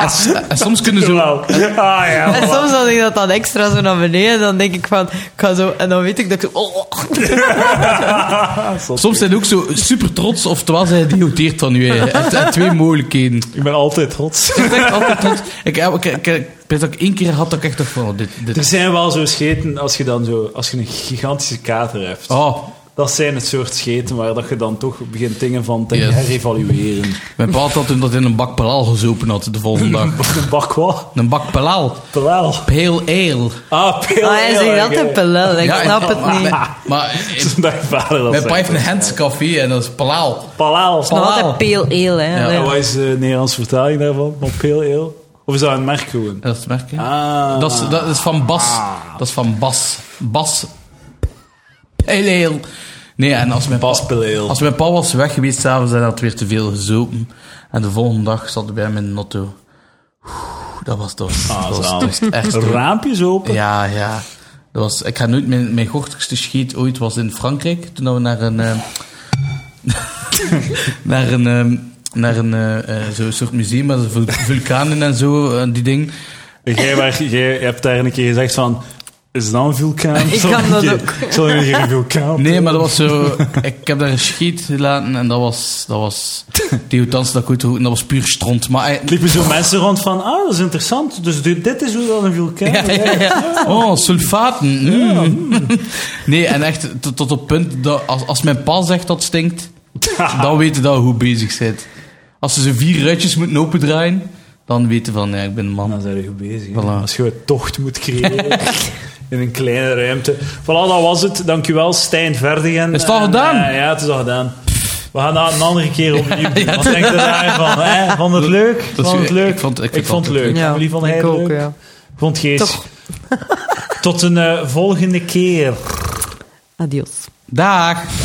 S2: en, s- en soms kunnen
S1: Ah, Zo
S2: zo...
S1: wel. Ah, ja.
S3: En
S1: voilà.
S3: soms had ik dat dan extra zo naar beneden. Dan denk ik van, ik ga zo... En dan weet ik dat ik zo... oh, oh.
S2: Soms zijn ze ook zo super trots, of terwijl zij idioteert van u. hè. Je hebt echt twee mogelijkheden.
S1: Ik ben altijd trots.
S2: Ik ben echt altijd trots. Ik, ik, ik, ik weet dat ik één keer had dat ik echt dacht van... oh, Dit, dit.
S1: Er zijn wel zo scheten als je dan zo... Als je een gigantische kater hebt.
S2: Oh,
S1: Dat zijn het soort scheten waar dat je dan toch begint dingen van te
S2: Yes.
S1: herevalueren.
S2: mijn pa had dat toen dat in een bak pelaal gezopen had de volgende dag.
S1: Een bak wat?
S2: Een bak pelaal.
S1: Pelel.
S2: Pale ale.
S1: Ah, pil.
S3: Maar hij zegt altijd pelel. Ik
S2: Ja, en-
S3: snap het
S2: maar-
S3: niet.
S2: Maar, maar-
S1: Dat je vader dat
S2: mijn pa
S1: zegt.
S2: heeft een Hens café en dat is pelaal.
S1: Palaal.
S3: Nog altijd
S2: Wow.
S3: peel eel, hè.
S2: Ja,
S1: En
S3: Ja.
S1: wat is de Nederlandse vertaling daarvan? Van pil ale? Of is dat een merk gewoon?
S2: Dat is merk, hè?
S1: Ah.
S2: Dat is, dat is van Bas. Dat is van Bas. Bas. Heel, heel. Nee, en als mijn, pa,
S1: Bas pil ale.
S2: als mijn pa was weg geweest s'avonds en had weer te veel gezopen. En de volgende dag zat ik bij hem in de auto. Oeh, Dat was toch.
S1: Ah,
S2: dat, was, dat
S1: zalig.
S2: was echt. toch-
S1: Raampjes open?
S2: Ja, ja. Dat was, ik ga nooit, mijn, mijn gochtigste scheet ooit was in Frankrijk. Toen we naar een. eh, naar een. ehm, naar een eh, eh, zo'n soort museum met vul- vulkanen en zo, en die ding.
S1: Jij, waar- jij hebt daar een keer gezegd van... Is dat een vulkaan?
S3: Ik
S1: Zal
S3: kan
S1: een
S3: dat
S1: keer-
S3: ook.
S1: Zal je een keer een vulkaan?
S2: Nee, maar dat was zo. Ik heb daar een scheet gelaten en dat was. Dat was. Die houtans dat ik ooit gehoord- dat was puur stront. Maar. eh,
S1: Er liepen zo mensen rond van... Ah, dat is interessant. Dus dit, dit is hoe dat een vulkaan...
S2: Ja, ja, ja. Oh, sulfaten. mm. Nee, en echt tot, tot op punt dat als, als mijn pa zegt dat stinkt, dan weten dat hoe bezig zit. Als ze zo vier ruitjes moeten opendraaien, dan weten van ja, ik ben een man.
S1: Dan zijn we goed bezig. hè.
S2: Voilà.
S1: Als je een tocht moet creëren in een kleine ruimte. Voilà, dat was het. Dankjewel, Stijn Verdegen.
S2: Is het al
S1: En,
S2: gedaan?
S1: eh, ja, het is al gedaan. We gaan dat een andere keer opnieuw doen. Wat denk je daarvan? Hè? Vond het leuk?
S2: Dat is-
S1: Vond het leuk?
S2: ik vond- ik vind
S1: vond het
S2: dat
S1: leuk. Jullie vonden
S3: ik
S1: het
S3: ook,
S1: leuk?
S3: ja.
S1: Ik vond het geest.
S3: Toch.
S1: Tot een eh, volgende keer.
S3: Adios.
S2: Dag!